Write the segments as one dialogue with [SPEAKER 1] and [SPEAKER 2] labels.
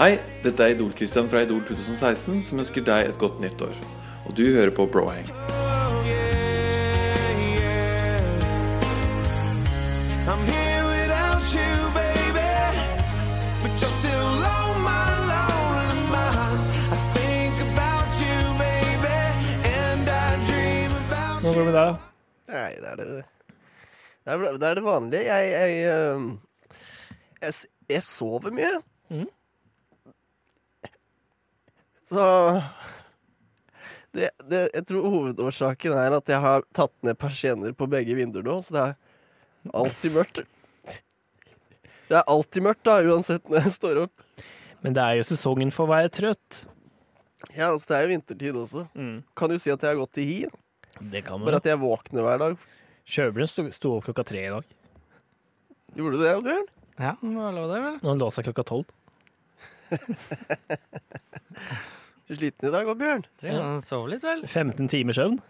[SPEAKER 1] Hei, dette er Idol-Christian fra Idol 2016 som ønsker deg et godt nytt år. Og du hører på Brohang.
[SPEAKER 2] oh, I'm here without you, baby. But you're still on my lonely mind. I think about you, baby. And I dream about
[SPEAKER 3] Hvordan går det med deg, da?
[SPEAKER 4] Nei, det er det Det er det, er det vanlige. Jeg jeg, øhm, jeg s- jeg sover mye. Så det, det, Jeg tror hovedårsaken er at jeg har tatt ned persienner på begge vinduer nå, så det er alltid mørkt. Det er alltid mørkt, da, uansett når jeg står opp.
[SPEAKER 3] Men det er jo sesongen for å være trøtt.
[SPEAKER 4] Ja, altså Det er jo vintertid også.
[SPEAKER 3] Mm.
[SPEAKER 4] Kan jo si at jeg har gått i hi,
[SPEAKER 3] Det kan man.
[SPEAKER 4] bare at jeg våkner hver dag.
[SPEAKER 3] Kjøberen sto, sto opp klokka tre i dag.
[SPEAKER 4] Gjorde du det, Bjørn?
[SPEAKER 5] Ja, er det var lov det, vel?
[SPEAKER 3] Når han lå seg klokka tolv.
[SPEAKER 4] Du er sliten i dag òg, Bjørn?
[SPEAKER 5] Tre. Han sov litt, vel?
[SPEAKER 3] 15 timer søvn.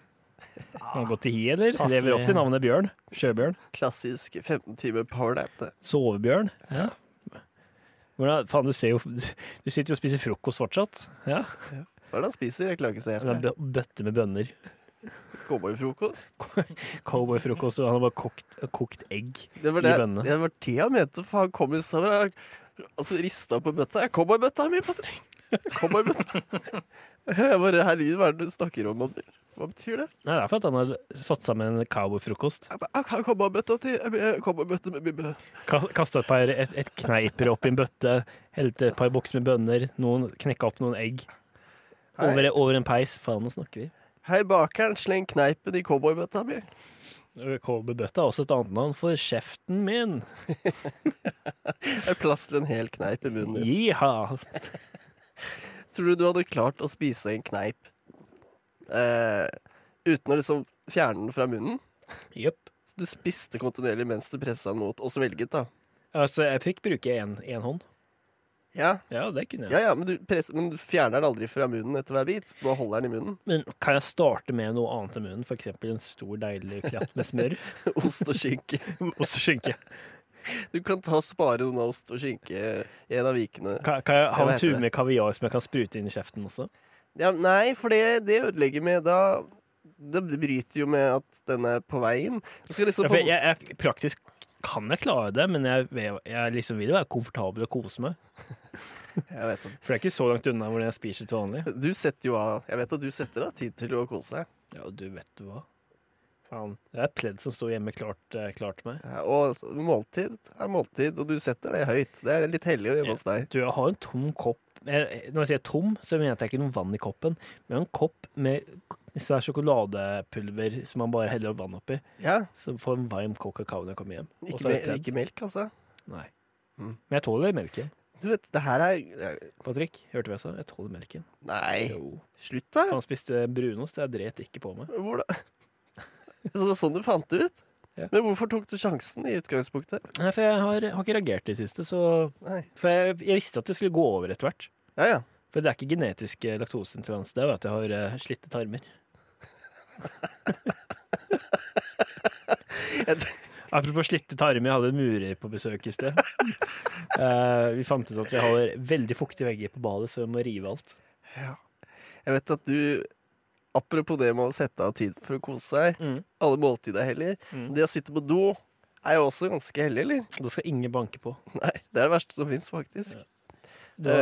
[SPEAKER 3] Han har gått til hi, eller?
[SPEAKER 5] Passelig.
[SPEAKER 3] Lever opp til navnet Bjørn. Sjøbjørn.
[SPEAKER 4] klassisk 15 timer powernap. det.
[SPEAKER 3] Sovebjørn. Ja. Hvordan, faen, du ser jo Du sitter jo og spiser frokost fortsatt. Ja.
[SPEAKER 4] Hva er det han spiser? Jeg klarer ikke å se
[SPEAKER 3] Det er
[SPEAKER 4] for meg.
[SPEAKER 3] bø- bøtte med bønner.
[SPEAKER 4] Cowboyfrokost?
[SPEAKER 3] Cowboyfrokost, og han har bare kokt, kokt egg.
[SPEAKER 4] Det var
[SPEAKER 3] I
[SPEAKER 4] det,
[SPEAKER 3] bønnene.
[SPEAKER 4] det var det han mente, for han kom i stedet altså, rista på bøtta. Jeg cowboybøtta mi, Patrick! Cowboybøtta. Jeg bare Herregud, hva er det du snakker om? André? Hva betyr det?
[SPEAKER 3] Nei, det er for at han har satt sammen en cowboyfrokost.
[SPEAKER 4] Jeg bare, jeg har Cowboybøtta til jeg- Cowboybøtta med bibbe.
[SPEAKER 3] Kasta et par et, et kneiper opp i en bøtte, helte et par bokser med bønner, noen knekka opp noen egg.
[SPEAKER 4] Hei.
[SPEAKER 3] Over, over en peis. Faen, nå snakker vi.
[SPEAKER 4] Hei, bakeren, sleng kneipen i cowboybøtta mi.
[SPEAKER 3] Kobberbøtta er også et annet navn for kjeften min.
[SPEAKER 4] Det er plass til en hel kneip i munnen din.
[SPEAKER 3] Jiha!
[SPEAKER 4] Tror du du hadde klart å spise en kneip eh, uten å liksom fjerne den fra munnen?
[SPEAKER 3] Jepp.
[SPEAKER 4] Så du spiste kontinuerlig mens du pressa den mot og svelget, da?
[SPEAKER 3] Altså, jeg fikk bruke én hånd.
[SPEAKER 4] Ja,
[SPEAKER 3] Ja, det kunne jeg.
[SPEAKER 4] ja, ja men, du press- men du fjerner den aldri fra munnen etter hver bit. Nå holder den i munnen.
[SPEAKER 3] Men kan jeg starte med noe annet enn munnen? F.eks. en stor, deilig klatt med smør?
[SPEAKER 4] Ost og skinke.
[SPEAKER 3] Og så skinke.
[SPEAKER 4] Du kan ta og spare noen av ost og skinke i en av vikene.
[SPEAKER 3] Kan, kan jeg ha
[SPEAKER 4] Hva
[SPEAKER 3] en
[SPEAKER 4] heter
[SPEAKER 3] tur
[SPEAKER 4] det?
[SPEAKER 3] med kaviar som jeg kan sprute inn i kjeften også?
[SPEAKER 4] Ja, nei, for det, det ødelegger med da Det bryter jo med at den er på vei inn. Du skal liksom
[SPEAKER 3] Ja,
[SPEAKER 4] på,
[SPEAKER 3] for jeg, jeg, praktisk kan jeg klare det, men jeg, jeg liksom vil jo være komfortabel og kose meg.
[SPEAKER 4] jeg vet det.
[SPEAKER 3] For det er ikke så langt unna hvordan jeg spiser til vanlig.
[SPEAKER 4] Du setter jo av Jeg vet at du setter av tid til å kose deg.
[SPEAKER 3] Ja, du vet du hva. Faen. Det er et pledd som står hjemme klart, eh, klar til meg.
[SPEAKER 4] Ja, og så- måltid er måltid, og du setter det høyt. Det er litt hellig hjemme hos deg.
[SPEAKER 3] Du, jeg har en tom kopp. Eh, Når jeg sier tom, så mener jeg at det er ikke noe vann i koppen, men en kopp med svær sjokoladepulver som man bare heller vann oppi.
[SPEAKER 4] Ja,
[SPEAKER 3] Så får en varm coca kakao når jeg kommer hjem. Og
[SPEAKER 4] ikke,
[SPEAKER 3] så er det
[SPEAKER 4] mel,
[SPEAKER 3] pledd.
[SPEAKER 4] ikke melk, altså.
[SPEAKER 3] Nei.
[SPEAKER 4] Mm.
[SPEAKER 3] Men jeg tåler melken.
[SPEAKER 4] Du vet, det her er
[SPEAKER 3] Patrick, hørte du hva jeg sa? Jeg tåler melken.
[SPEAKER 4] Nei,
[SPEAKER 3] Jo.
[SPEAKER 4] slutt da.
[SPEAKER 3] Han spiste eh, brunost, jeg dret ikke på meg.
[SPEAKER 4] Hvordan? Så det var sånn du fant det ut?
[SPEAKER 3] Ja.
[SPEAKER 4] Men hvorfor tok du sjansen i utgangspunktet?
[SPEAKER 3] Nei, for jeg har, har ikke reagert i det siste, så
[SPEAKER 4] Nei.
[SPEAKER 3] For jeg, jeg visste at det skulle gå over etter hvert.
[SPEAKER 4] Ja, ja.
[SPEAKER 3] For det er ikke genetisk eh, laktoseintoleranse, det er jo at jeg har eh, slitte tarmer. Apropos slitte tarmer, jeg hadde en murer på besøk i sted. Eh, vi fant ut at vi har veldig fuktige vegger på badet, så vi må rive alt.
[SPEAKER 4] ja. Jeg vet at du Apropos det med å sette av tid for å kose seg.
[SPEAKER 3] Mm.
[SPEAKER 4] Alle måltid er hellig.
[SPEAKER 3] Mm.
[SPEAKER 4] Det å sitte på do er jo også ganske hellig, eller?
[SPEAKER 3] Da skal ingen banke på.
[SPEAKER 4] Nei, det er det verste som fins, faktisk.
[SPEAKER 3] Da,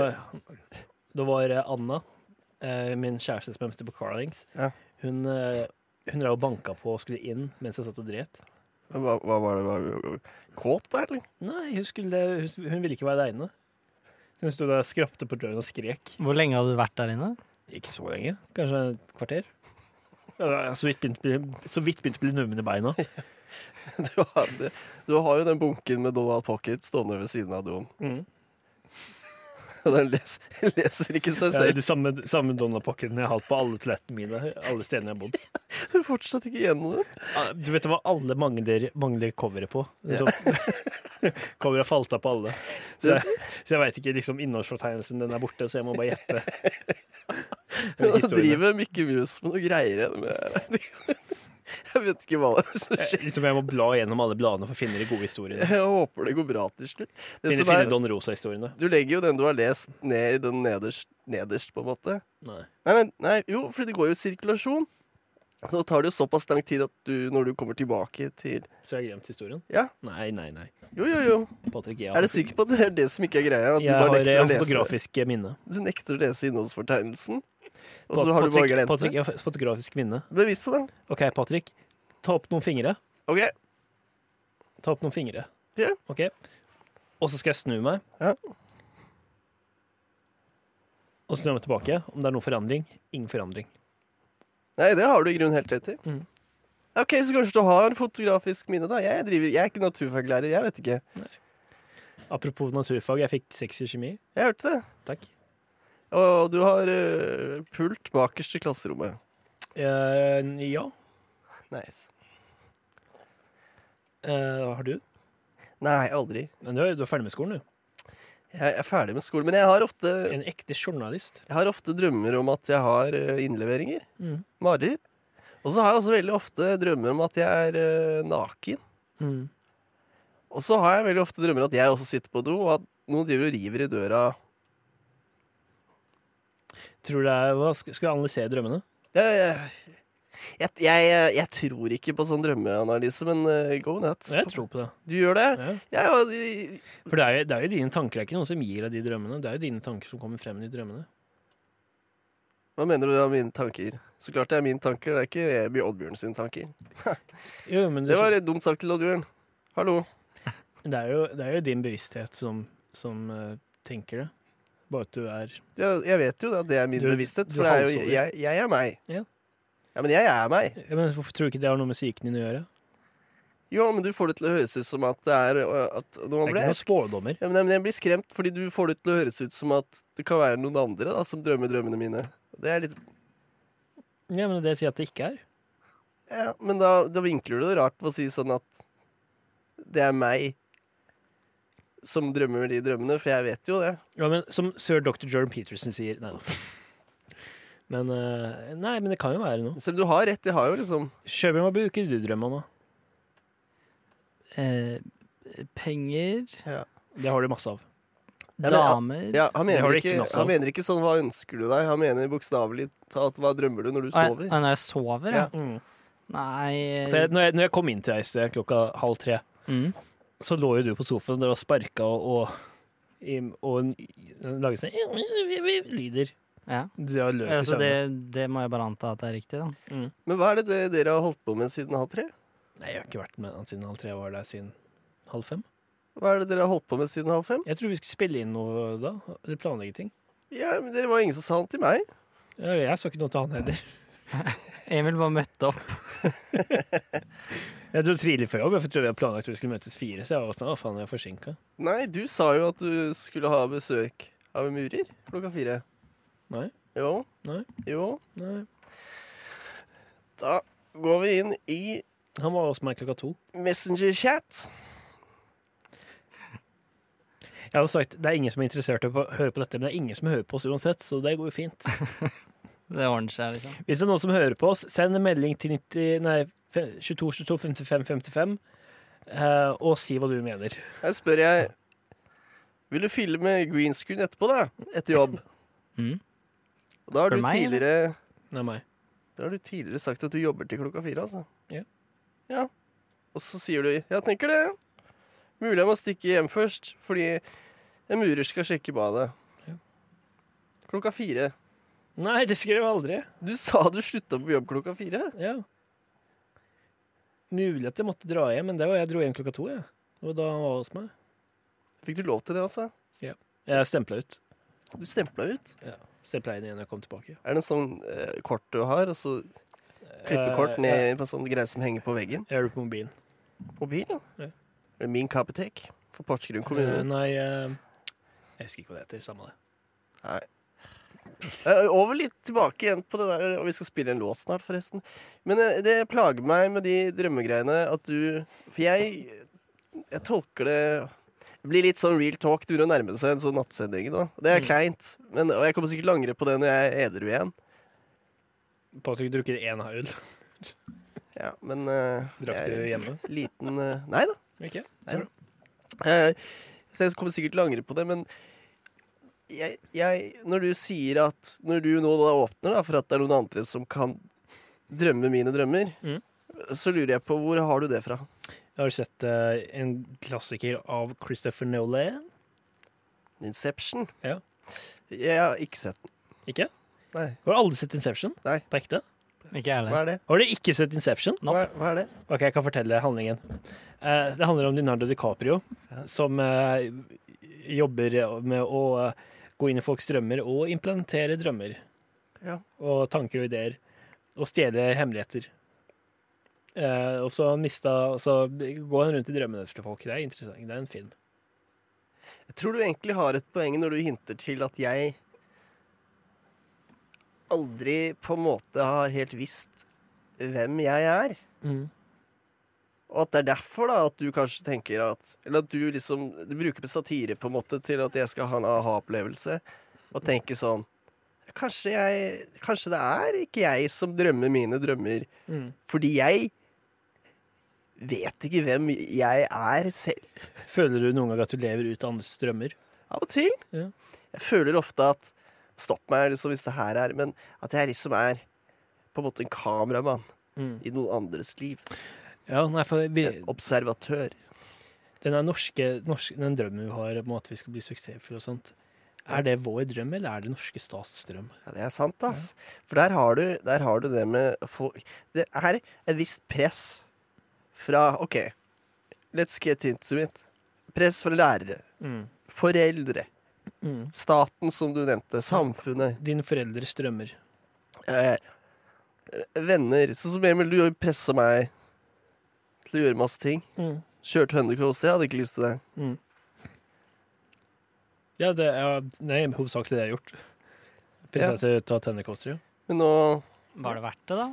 [SPEAKER 3] da var eh, Anna, eh, min kjæreste som jeg møtte på Carlings,
[SPEAKER 4] Ja.
[SPEAKER 3] hun, eh, hun drev og banka på og skulle inn mens jeg satt og dret.
[SPEAKER 4] Men Hva, hva var det? Var du kåt, da, eller?
[SPEAKER 3] Nei, hun, skulle, hun, hun ville ikke være aleine. Så hun sto der og skrapte på døren og skrek.
[SPEAKER 5] Hvor lenge hadde du vært der inne?
[SPEAKER 3] Ikke så lenge. Kanskje et kvarter. Ja, jeg Så vidt begynte å bli- så vidt begynte å bli nummen i beina.
[SPEAKER 4] Du har, du har jo den bunken med Donald Pocket stående ved siden av doen.
[SPEAKER 3] Mm.
[SPEAKER 4] Og den les, leser ikke seg
[SPEAKER 3] Ja,
[SPEAKER 4] selv.
[SPEAKER 3] de samme, samme Donald-pakkene jeg har hatt på alle toalettene mine. Alle stedene jeg har bodd.
[SPEAKER 4] Du er fortsatt ikke gjennom det.
[SPEAKER 3] Ah, Du vet hva alle mangler, mangler coveret på? Så, coveret har falt av på alle. Så jeg, så jeg veit ikke liksom innholdsfortegnelsen. Den er borte, så jeg må bare gjette. Eller
[SPEAKER 4] Da
[SPEAKER 3] historiene.
[SPEAKER 4] driver Mikke Mus med noe greier igjen. Jeg vet ikke hva det er som skjer.
[SPEAKER 3] Jeg, liksom jeg må bla gjennom alle bladene for å finne de gode historiene.
[SPEAKER 4] Jeg håper det går bra til slutt. Det
[SPEAKER 3] Finne,
[SPEAKER 4] som
[SPEAKER 3] finne
[SPEAKER 4] er,
[SPEAKER 3] Don Rosa-historiene.
[SPEAKER 4] du legger jo den du har lest, ned i den nederst, nederst på en måte.
[SPEAKER 3] Nei.
[SPEAKER 4] Nei, men, nei, jo, for det går jo i sirkulasjon. Så tar det jo såpass lang tid at du, når du kommer tilbake til
[SPEAKER 3] Så jeg har glemt historien?
[SPEAKER 4] Ja.
[SPEAKER 3] Nei, nei, nei.
[SPEAKER 4] Jo, jo, jo.
[SPEAKER 3] Patrick, jeg
[SPEAKER 4] Er du sikker på at det er det som ikke er greia? At
[SPEAKER 3] Jeg
[SPEAKER 4] du
[SPEAKER 3] har
[SPEAKER 4] bare nekter
[SPEAKER 3] eh,
[SPEAKER 4] å lese,
[SPEAKER 3] fotografisk minne.
[SPEAKER 4] du nekter å lese innholdsfortegnelsen? Og
[SPEAKER 3] Pat-
[SPEAKER 4] så har du bare
[SPEAKER 3] Patrick-
[SPEAKER 4] glemt
[SPEAKER 3] Patrick,
[SPEAKER 4] det?
[SPEAKER 3] jeg har fotografisk minne.
[SPEAKER 4] Bevis det, da.
[SPEAKER 3] OK, Patrick. Ta opp noen fingre.
[SPEAKER 4] OK.
[SPEAKER 3] Ta opp noen fingre.
[SPEAKER 4] Ja.
[SPEAKER 3] Ok. Og så skal jeg snu meg.
[SPEAKER 4] Ja.
[SPEAKER 3] Og så snur jeg meg tilbake. Om det er noen forandring? Ingen forandring.
[SPEAKER 4] Nei, det har du i grunnen helt rett i.
[SPEAKER 3] Mhm.
[SPEAKER 4] OK, så kanskje du har fotografisk minne, da. Jeg, driver, jeg er ikke naturfaglærer, jeg vet ikke.
[SPEAKER 3] Apropos naturfag, jeg fikk seks i kjemi.
[SPEAKER 4] Jeg hørte det.
[SPEAKER 3] Takk.
[SPEAKER 4] Og du har eh, pult bakerst i klasserommet.
[SPEAKER 3] Eh, ja.
[SPEAKER 4] Nice.
[SPEAKER 3] Eh, har du?
[SPEAKER 4] Nei, aldri.
[SPEAKER 3] Men Du er, du er ferdig med skolen, du.
[SPEAKER 4] Jeg er ferdig med skolen, men jeg har ofte,
[SPEAKER 3] En ekte journalist.
[SPEAKER 4] jeg har ofte drømmer om at jeg har eh, innleveringer.
[SPEAKER 3] Mm.
[SPEAKER 4] Mareritt. Og så har jeg også veldig ofte drømmer om at jeg er eh, naken.
[SPEAKER 3] Mm.
[SPEAKER 4] Og så har jeg veldig ofte drømmer at jeg også sitter på do, og at noen driver og river i døra.
[SPEAKER 3] Tror du det er, hva, skal skal vi analysere drømmene?
[SPEAKER 4] Jeg, jeg, jeg, jeg, jeg tror ikke på sånn drømmeanalyse, men eh, go nuts.
[SPEAKER 3] Jeg tror på det.
[SPEAKER 4] Du gjør det?
[SPEAKER 3] Ja.
[SPEAKER 4] Jeg, jeg,
[SPEAKER 3] For det er, jo, det er jo dine tanker. Det er ikke noen som gir deg de drømmene. Det er jo dine tanker som kommer frem i de drømmene.
[SPEAKER 4] hva mener du om mine tanker? Så klart det er mine tanker, det er ikke Ebby Oddbjørn sine tanker.
[SPEAKER 3] Jo, men du,
[SPEAKER 4] Det var litt dumt sagt til Oddbjørn. Hallo.
[SPEAKER 3] Det er jo, det er jo din bevissthet som, som eh, tenker det. Bare at du er
[SPEAKER 4] Jeg, jeg vet jo det, at det er min
[SPEAKER 3] Du-
[SPEAKER 4] bevissthet,
[SPEAKER 3] du
[SPEAKER 4] for det er jo,
[SPEAKER 3] halshogger.
[SPEAKER 4] jeg, jeg er meg.
[SPEAKER 3] Ja.
[SPEAKER 4] ja, men jeg er meg.
[SPEAKER 3] Ja, Men Hvorfor tror du ikke det har noe med psyken din å gjøre?
[SPEAKER 4] Jo, men du får det til å høres ut som at det er øh, at
[SPEAKER 3] Det
[SPEAKER 4] nå
[SPEAKER 3] er
[SPEAKER 4] ble
[SPEAKER 3] ikke noen
[SPEAKER 4] jeg
[SPEAKER 3] spådommer.
[SPEAKER 4] ja, men jeg- Jeg blir skremt fordi du får det til å høres ut som at det kan være noen andre da, som drømmer drømmene mine. Det er litt
[SPEAKER 3] Ja, men Det sier at det ikke er.
[SPEAKER 4] Ja, men da, da vinkler du det rart ved å si sånn at det er meg som drømmer de drømmene, for jeg vet jo det.
[SPEAKER 3] Ja, men Som sir dr. Jordan Peterson sier Nei da. Men, eh, nei, men det kan jo være noe.
[SPEAKER 4] Selv om du har rett, jeg har jo liksom
[SPEAKER 3] Sjøbjørn, hva bruker du drømma nå?
[SPEAKER 5] Eh, penger,
[SPEAKER 3] Det har du masse av.
[SPEAKER 4] men-
[SPEAKER 5] damer
[SPEAKER 4] ja, han,
[SPEAKER 3] Det har
[SPEAKER 4] mener
[SPEAKER 3] du
[SPEAKER 4] ikke,
[SPEAKER 3] ikke nok av.
[SPEAKER 4] han mener ikke sånn 'hva ønsker du deg', han mener bokstavelig talt 'hva drømmer du når du
[SPEAKER 5] Ah, jeg-
[SPEAKER 4] sover'?
[SPEAKER 5] ah, Når jeg sover, ja.
[SPEAKER 4] Ja.
[SPEAKER 5] Nei eh,
[SPEAKER 3] For jeg, når, jeg, når jeg kom inn til deg i sted klokka halv tre,
[SPEAKER 5] mm.
[SPEAKER 3] så lå jo du på sofaen der og sparka og, og, i- og en- laget sånn lyder.
[SPEAKER 5] ja.
[SPEAKER 3] Du har løp i
[SPEAKER 5] Altså,
[SPEAKER 3] søvne.
[SPEAKER 5] det, det må jeg bare anta at det mm. er riktig, da.
[SPEAKER 4] Men hva er det det dere har holdt på med siden halv tre?
[SPEAKER 3] Nei, jeg har ikke vært med han siden halv tre. Jeg var der siden halv fem.
[SPEAKER 4] Hva er det dere har holdt på med siden halv fem?
[SPEAKER 3] Jeg tror vi skulle spille inn noe da. Eller planlegge ting.
[SPEAKER 4] Ja, men Dere var ingen som sa noe til meg.
[SPEAKER 3] Ja, Jeg sa ikke noe til han heller.
[SPEAKER 5] Emil bare møtte opp.
[SPEAKER 3] Jeg dro tidlig før jobb. Jeg trodde vi hadde planlagt at vi skulle møtes fire. Så jeg var sånn, å faen, jeg er forsinka.
[SPEAKER 4] Nei, du sa jo at du skulle ha besøk av en murer klokka fire.
[SPEAKER 3] Nei.
[SPEAKER 4] Jo.
[SPEAKER 3] Nei.
[SPEAKER 4] Jo.
[SPEAKER 3] Nei.
[SPEAKER 4] Da går vi inn i
[SPEAKER 3] Han var hos meg klokka to.
[SPEAKER 4] Messenger-chat.
[SPEAKER 3] Jeg hadde sagt det er ingen som er interessert i å høre på dette, men det er ingen som hører på oss uansett, så det går jo fint.
[SPEAKER 5] Det ordner seg, liksom.
[SPEAKER 3] Hvis det er noen som hører på oss, send en melding til 90, nei, fe- 22 22 55 55 eh, og si hva du mener.
[SPEAKER 4] Her spør jeg Vil du filme green screen etterpå, da? Etter jobb?
[SPEAKER 5] Mm.
[SPEAKER 4] Og da har
[SPEAKER 5] Spør
[SPEAKER 4] du,
[SPEAKER 5] meg, eller?
[SPEAKER 4] tidligere,
[SPEAKER 3] Det er meg.
[SPEAKER 4] da har du tidligere sagt at du jobber til klokka fire, altså.
[SPEAKER 3] Ja.
[SPEAKER 4] ja. Og så sier du 'jeg tenker det'. Mulig jeg må stikke hjem først, fordi en murer skal sjekke badet.
[SPEAKER 3] Ja.
[SPEAKER 4] Klokka fire.
[SPEAKER 3] Nei, det skrev jeg aldri.
[SPEAKER 4] Du sa du slutta på jobb klokka fire.
[SPEAKER 3] Ja. Mulig at jeg måtte dra hjem, men det var jeg dro hjem klokka to. Jeg. Og da han var hos meg.
[SPEAKER 4] Fikk du lov til det, altså?
[SPEAKER 3] Jeg stempla ut.
[SPEAKER 4] Du stempla ut.
[SPEAKER 3] Stempla inn igjen da jeg kom tilbake.
[SPEAKER 4] Er det en sånn eh, kort du har, og så klipper kort
[SPEAKER 3] Eh,
[SPEAKER 4] ned på en sånn greie som henger på veggen?
[SPEAKER 3] Jeg gjør det på mobilen.
[SPEAKER 4] Mobil, ja.
[SPEAKER 3] Ja.
[SPEAKER 4] Er det Min Kapitek for Porsgrunn
[SPEAKER 3] Eh,
[SPEAKER 4] kommune.
[SPEAKER 3] nei eh, Jeg husker ikke hva det heter. Samme det.
[SPEAKER 4] Eh, Over litt tilbake igjen på det der, og vi skal spille en låt snart, forresten. Men eh, det plager meg med de drømmegreiene at du For jeg, jeg tolker det det blir litt sånn real talk. Det begynner å nærme seg en sånn nattsending. nå. Det er
[SPEAKER 3] Mm.
[SPEAKER 4] kleint. Men, og jeg kommer sikkert til å angre på det når jeg er edru igjen.
[SPEAKER 3] Patrick drukker én øl.
[SPEAKER 4] Ja, men eh,
[SPEAKER 3] Drakk
[SPEAKER 4] jeg er
[SPEAKER 3] du hjemme?
[SPEAKER 4] Liten eh, Nei da.
[SPEAKER 3] Ikke?
[SPEAKER 4] Nei da. Eh, så jeg kommer sikkert til å angre på det, men jeg, jeg, når du sier at Når du nå da åpner da, for at det er noen andre som kan drømme mine drømmer,
[SPEAKER 3] Mm.
[SPEAKER 4] så lurer jeg på hvor har du det fra?
[SPEAKER 3] Jeg har sett eh, en klassiker av Christopher Nolan.
[SPEAKER 4] Inception?
[SPEAKER 3] Ja.
[SPEAKER 4] Jeg har ikke sett den.
[SPEAKER 3] Ikke?
[SPEAKER 4] Nei.
[SPEAKER 3] Har du aldri sett Inception?
[SPEAKER 4] Nei.
[SPEAKER 3] På ekte?
[SPEAKER 5] Ikke jeg
[SPEAKER 4] Hva
[SPEAKER 5] heller.
[SPEAKER 4] er det?
[SPEAKER 3] Har du ikke sett Inception?
[SPEAKER 4] Hva, hva er det?
[SPEAKER 3] Ok, jeg kan fortelle handlingen. Eh, det handler om Leonardo DiCaprio,
[SPEAKER 4] Ja.
[SPEAKER 3] som eh, jobber med å eh, gå inn i folks drømmer og implementere drømmer
[SPEAKER 4] Ja.
[SPEAKER 3] og tanker og ideer, og stjele hemmeligheter. Eh, og så mista og Så går han rundt i drømmene til folk. Det er interessant. Det er en film.
[SPEAKER 4] Jeg tror du egentlig har et poeng når du hinter til at jeg aldri på en måte har helt visst hvem jeg er. Og at det er derfor da at du kanskje tenker at Eller at du liksom du bruker på satire på en måte til at jeg skal ha en aha-opplevelse. Og tenke sånn kanskje, jeg, kanskje det er ikke jeg som drømmer mine drømmer.
[SPEAKER 3] Mm.
[SPEAKER 4] Fordi jeg vet ikke hvem jeg er selv.
[SPEAKER 3] Føler du noen gang at du lever ut andres drømmer?
[SPEAKER 4] Av og til.
[SPEAKER 3] Ja.
[SPEAKER 4] Jeg føler ofte at Stopp meg liksom hvis det her er Men at jeg liksom er på en måte en kameramann i noen andres liv.
[SPEAKER 3] Ja, nei, for vi,
[SPEAKER 4] En observatør.
[SPEAKER 3] den er norske, norsk- den drømmen vi har om at vi skal bli suksessfulle og sånt, er det vår drøm, eller er det norske stats drøm?
[SPEAKER 4] Ja, det er sant, ass. For der har, du, der har du det med å få Det er et visst press fra OK, let's get into it. Press fra lærere, foreldre, Mm. staten, som du nevnte, samfunnet,
[SPEAKER 3] Dine foreldres drømmer.
[SPEAKER 4] eh, venner. Sånn som Emil, du pressa meg til å gjøre masse ting. Kjørte Hønekost, jeg hadde ikke lyst til det.
[SPEAKER 3] Ja, det er nei, hovedsakelig det jeg har gjort.
[SPEAKER 4] Ja.
[SPEAKER 3] Pressa til å ta tennerkoster, ja.
[SPEAKER 4] Men nå
[SPEAKER 5] Var det verdt det, da?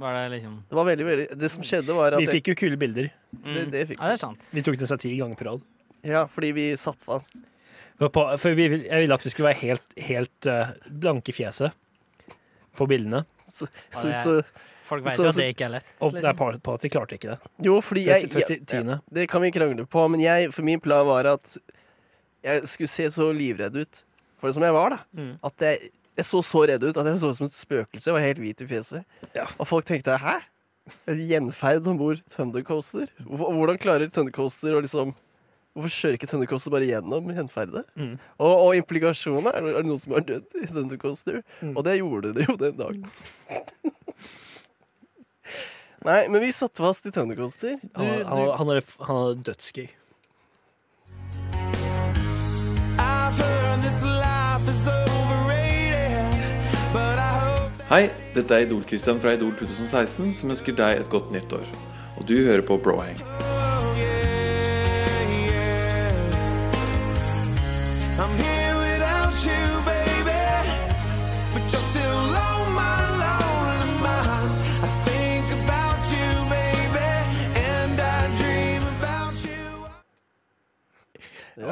[SPEAKER 5] Var det liksom mm.
[SPEAKER 4] Det var veldig, veldig Det som skjedde, var at
[SPEAKER 3] Vi fikk jo kule bilder.
[SPEAKER 4] Det- det fikk
[SPEAKER 5] Ja, det er sant.
[SPEAKER 3] Vi tok den seg ti ganger på rad.
[SPEAKER 4] jeg, Ja, fordi vi satt fast.
[SPEAKER 3] Det var På, for vi, vil- jeg ville at vi skulle være helt, helt eh, blanke i fjeset på bildene.
[SPEAKER 4] Så,
[SPEAKER 5] Ja,
[SPEAKER 4] så,
[SPEAKER 5] det er-
[SPEAKER 4] så
[SPEAKER 5] Folk veit
[SPEAKER 4] Så-
[SPEAKER 5] jo
[SPEAKER 4] så-
[SPEAKER 5] at det ikke er lett.
[SPEAKER 3] Og det er
[SPEAKER 5] Liksom.
[SPEAKER 3] par- på at vi klarte ikke det.
[SPEAKER 4] Jo, fordi jeg,
[SPEAKER 3] Først, først
[SPEAKER 4] jeg
[SPEAKER 3] i tiende.
[SPEAKER 4] Det kan vi krangle på, men jeg, for min plan var at jeg skulle se så livredd ut for det som jeg var, da.
[SPEAKER 3] Mm.
[SPEAKER 4] At jeg, jeg så så redd ut at jeg så ut som et spøkelse. Jeg var helt hvit i fjeset.
[SPEAKER 3] Ja.
[SPEAKER 4] Og folk tenkte 'hæ? En Gjenferd om bord Thundercoaster? Hvor- Hvordan klarer Thundercoaster å liksom Hvorfor kjører ikke Thundercoaster bare gjennom gjenferdet?
[SPEAKER 3] Mm.
[SPEAKER 4] Og, og implikasjonene er, er det noen som har dødd i Thundercoaster?
[SPEAKER 3] Mm.
[SPEAKER 4] Og det gjorde det jo den dagen. Nei, men vi satt fast i Thundercoaster. Du,
[SPEAKER 3] Han,
[SPEAKER 4] du
[SPEAKER 3] han, han, er, han er dødsgøy.
[SPEAKER 2] I've heard this life is overrated, but I hope.
[SPEAKER 1] Hei, dette er Idol-Christian fra Idol 2016 som ønsker deg et godt nytt år. Og du hører på Brohang.
[SPEAKER 2] Oh yeah, yeah. I'm here without you, baby, but you're still on my lonely mind. I think about you, baby, and I dream about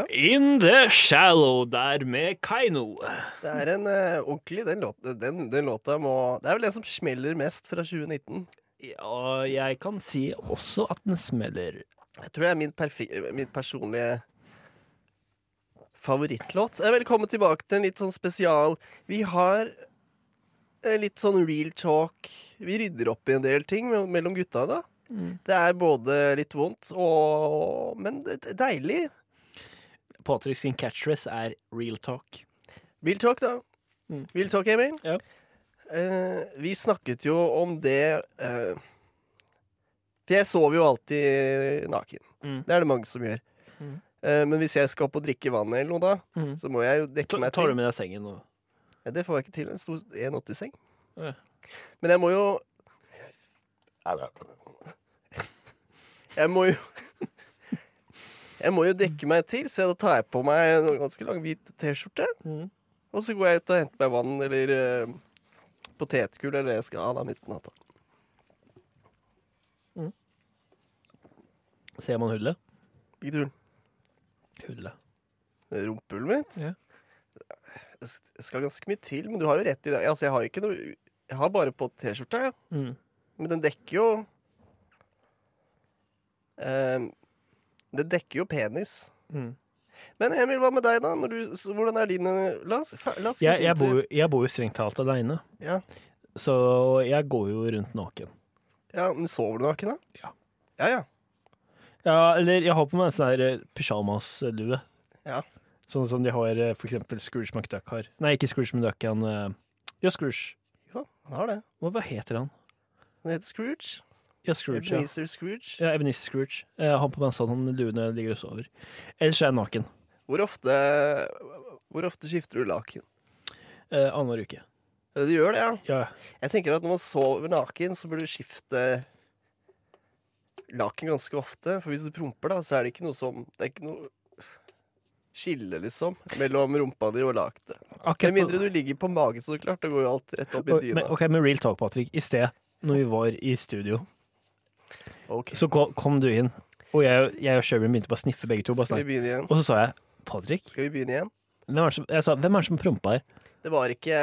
[SPEAKER 2] you.
[SPEAKER 3] In the shallow der med Kaino.
[SPEAKER 4] Det er en eh, ordentlig den låta, den, den låta må Det er vel den som smeller mest fra 2019.
[SPEAKER 3] Ja, jeg kan si også at den smeller.
[SPEAKER 4] Jeg tror det er min, perfi, min personlige favorittlåt. Eh, Velkommen tilbake til en litt sånn spesial. Vi har eh, litt sånn real talk. Vi rydder opp i en del ting mell- mellom gutta, da. Det er både litt vondt og Men det er deilig.
[SPEAKER 3] Patrick sin catchphrase er real talk.
[SPEAKER 4] Real talk, da.
[SPEAKER 3] Mm.
[SPEAKER 4] Real talk, Emil.
[SPEAKER 3] Ja.
[SPEAKER 4] Eh, vi snakket jo om det eh, For jeg sover jo alltid naken.
[SPEAKER 3] Mm.
[SPEAKER 4] Det er det mange som gjør.
[SPEAKER 3] Mm.
[SPEAKER 4] Eh, men hvis jeg skal opp og drikke vann eller noe, da,
[SPEAKER 3] Mm.
[SPEAKER 4] så må jeg jo dekke meg
[SPEAKER 3] tar du
[SPEAKER 4] til.
[SPEAKER 3] med deg sengen nå?
[SPEAKER 4] Ja, det får jeg ikke til. En stor 1,80-seng.
[SPEAKER 3] Ja.
[SPEAKER 4] Men jeg må jo Jeg må jo Jeg må jo dekke meg til, så da tar jeg på meg en ganske lang hvit T-skjorte.
[SPEAKER 3] Mm.
[SPEAKER 4] Og så går jeg ut og henter meg vann eller eh, potetgull eller det jeg skal ha da midt på natta.
[SPEAKER 3] Ser man hullet?
[SPEAKER 4] Hvilket hull?
[SPEAKER 3] Hullet.
[SPEAKER 4] Rumpehullet mitt?
[SPEAKER 3] Ja.
[SPEAKER 4] Det s- det skal ganske mye til, men du har jo rett i det. Altså, jeg har jo ikke noe Jeg har bare på T-skjorta, ja.
[SPEAKER 3] Mm.
[SPEAKER 4] Men Men den dekker jo eh, Det dekker jo penis.
[SPEAKER 3] Mm.
[SPEAKER 4] Men Emil, hva med deg, da? Når du, s- hvordan er din eh, La oss, fa- la oss get
[SPEAKER 3] Jeg, jeg,
[SPEAKER 4] into
[SPEAKER 3] bor,
[SPEAKER 4] it.
[SPEAKER 3] jeg bor jo strengt talt aleine,
[SPEAKER 4] Ja.
[SPEAKER 3] så jeg går jo rundt naken.
[SPEAKER 4] ja, men Sover du naken, da?
[SPEAKER 3] Ja.
[SPEAKER 4] Ja, ja.
[SPEAKER 3] Ja, eller jeg har på meg en sånn her eh, pyjamaslue.
[SPEAKER 4] Ja.
[SPEAKER 3] Sånn som de har eh, for eksempel Scrooge McDuck har. Nei, ikke Scrooge McDuck, han eh, Ja, Scrooge.
[SPEAKER 4] Jo, han har det.
[SPEAKER 3] Hva, hva heter han?
[SPEAKER 4] Han heter Scrooge.
[SPEAKER 3] Ja, Scrooge, ja.
[SPEAKER 4] Ebenezer Scrooge.
[SPEAKER 3] ja Ebenezer Scrooge. Jeg har på meg en sånn han lue når jeg ligger og sover. Ellers er jeg naken.
[SPEAKER 4] Hvor ofte, hvor ofte skifter du laken?
[SPEAKER 3] Eh, Annenhver uke.
[SPEAKER 4] Ja, Du gjør det, ja.
[SPEAKER 3] Ja.
[SPEAKER 4] Jeg tenker at når man sover naken, så bør du skifte laken ganske ofte. For hvis du promper, da, så er det ikke noe som Det er ikke noe skille, liksom, mellom rumpa di og lakenet.
[SPEAKER 3] Akkurat
[SPEAKER 4] Med
[SPEAKER 3] på-
[SPEAKER 4] mindre du ligger på magen, så klart. Da går jo alt rett opp i
[SPEAKER 3] Oi, men,
[SPEAKER 4] dyna.
[SPEAKER 3] ok, men real talk, Patrick. I sted, når vi var i studio,
[SPEAKER 4] Ok.
[SPEAKER 3] så ko- kom du inn, og jeg, jeg og Sherwin begynte bare å sniffe begge to. Bare
[SPEAKER 4] Skal vi
[SPEAKER 3] sånn her.
[SPEAKER 4] begynne igjen?
[SPEAKER 3] og så sa jeg Patrick?
[SPEAKER 4] Skal vi begynne igjen?
[SPEAKER 3] Hvem er det som, jeg sa, hvem er det som prompa her?
[SPEAKER 4] Det var ikke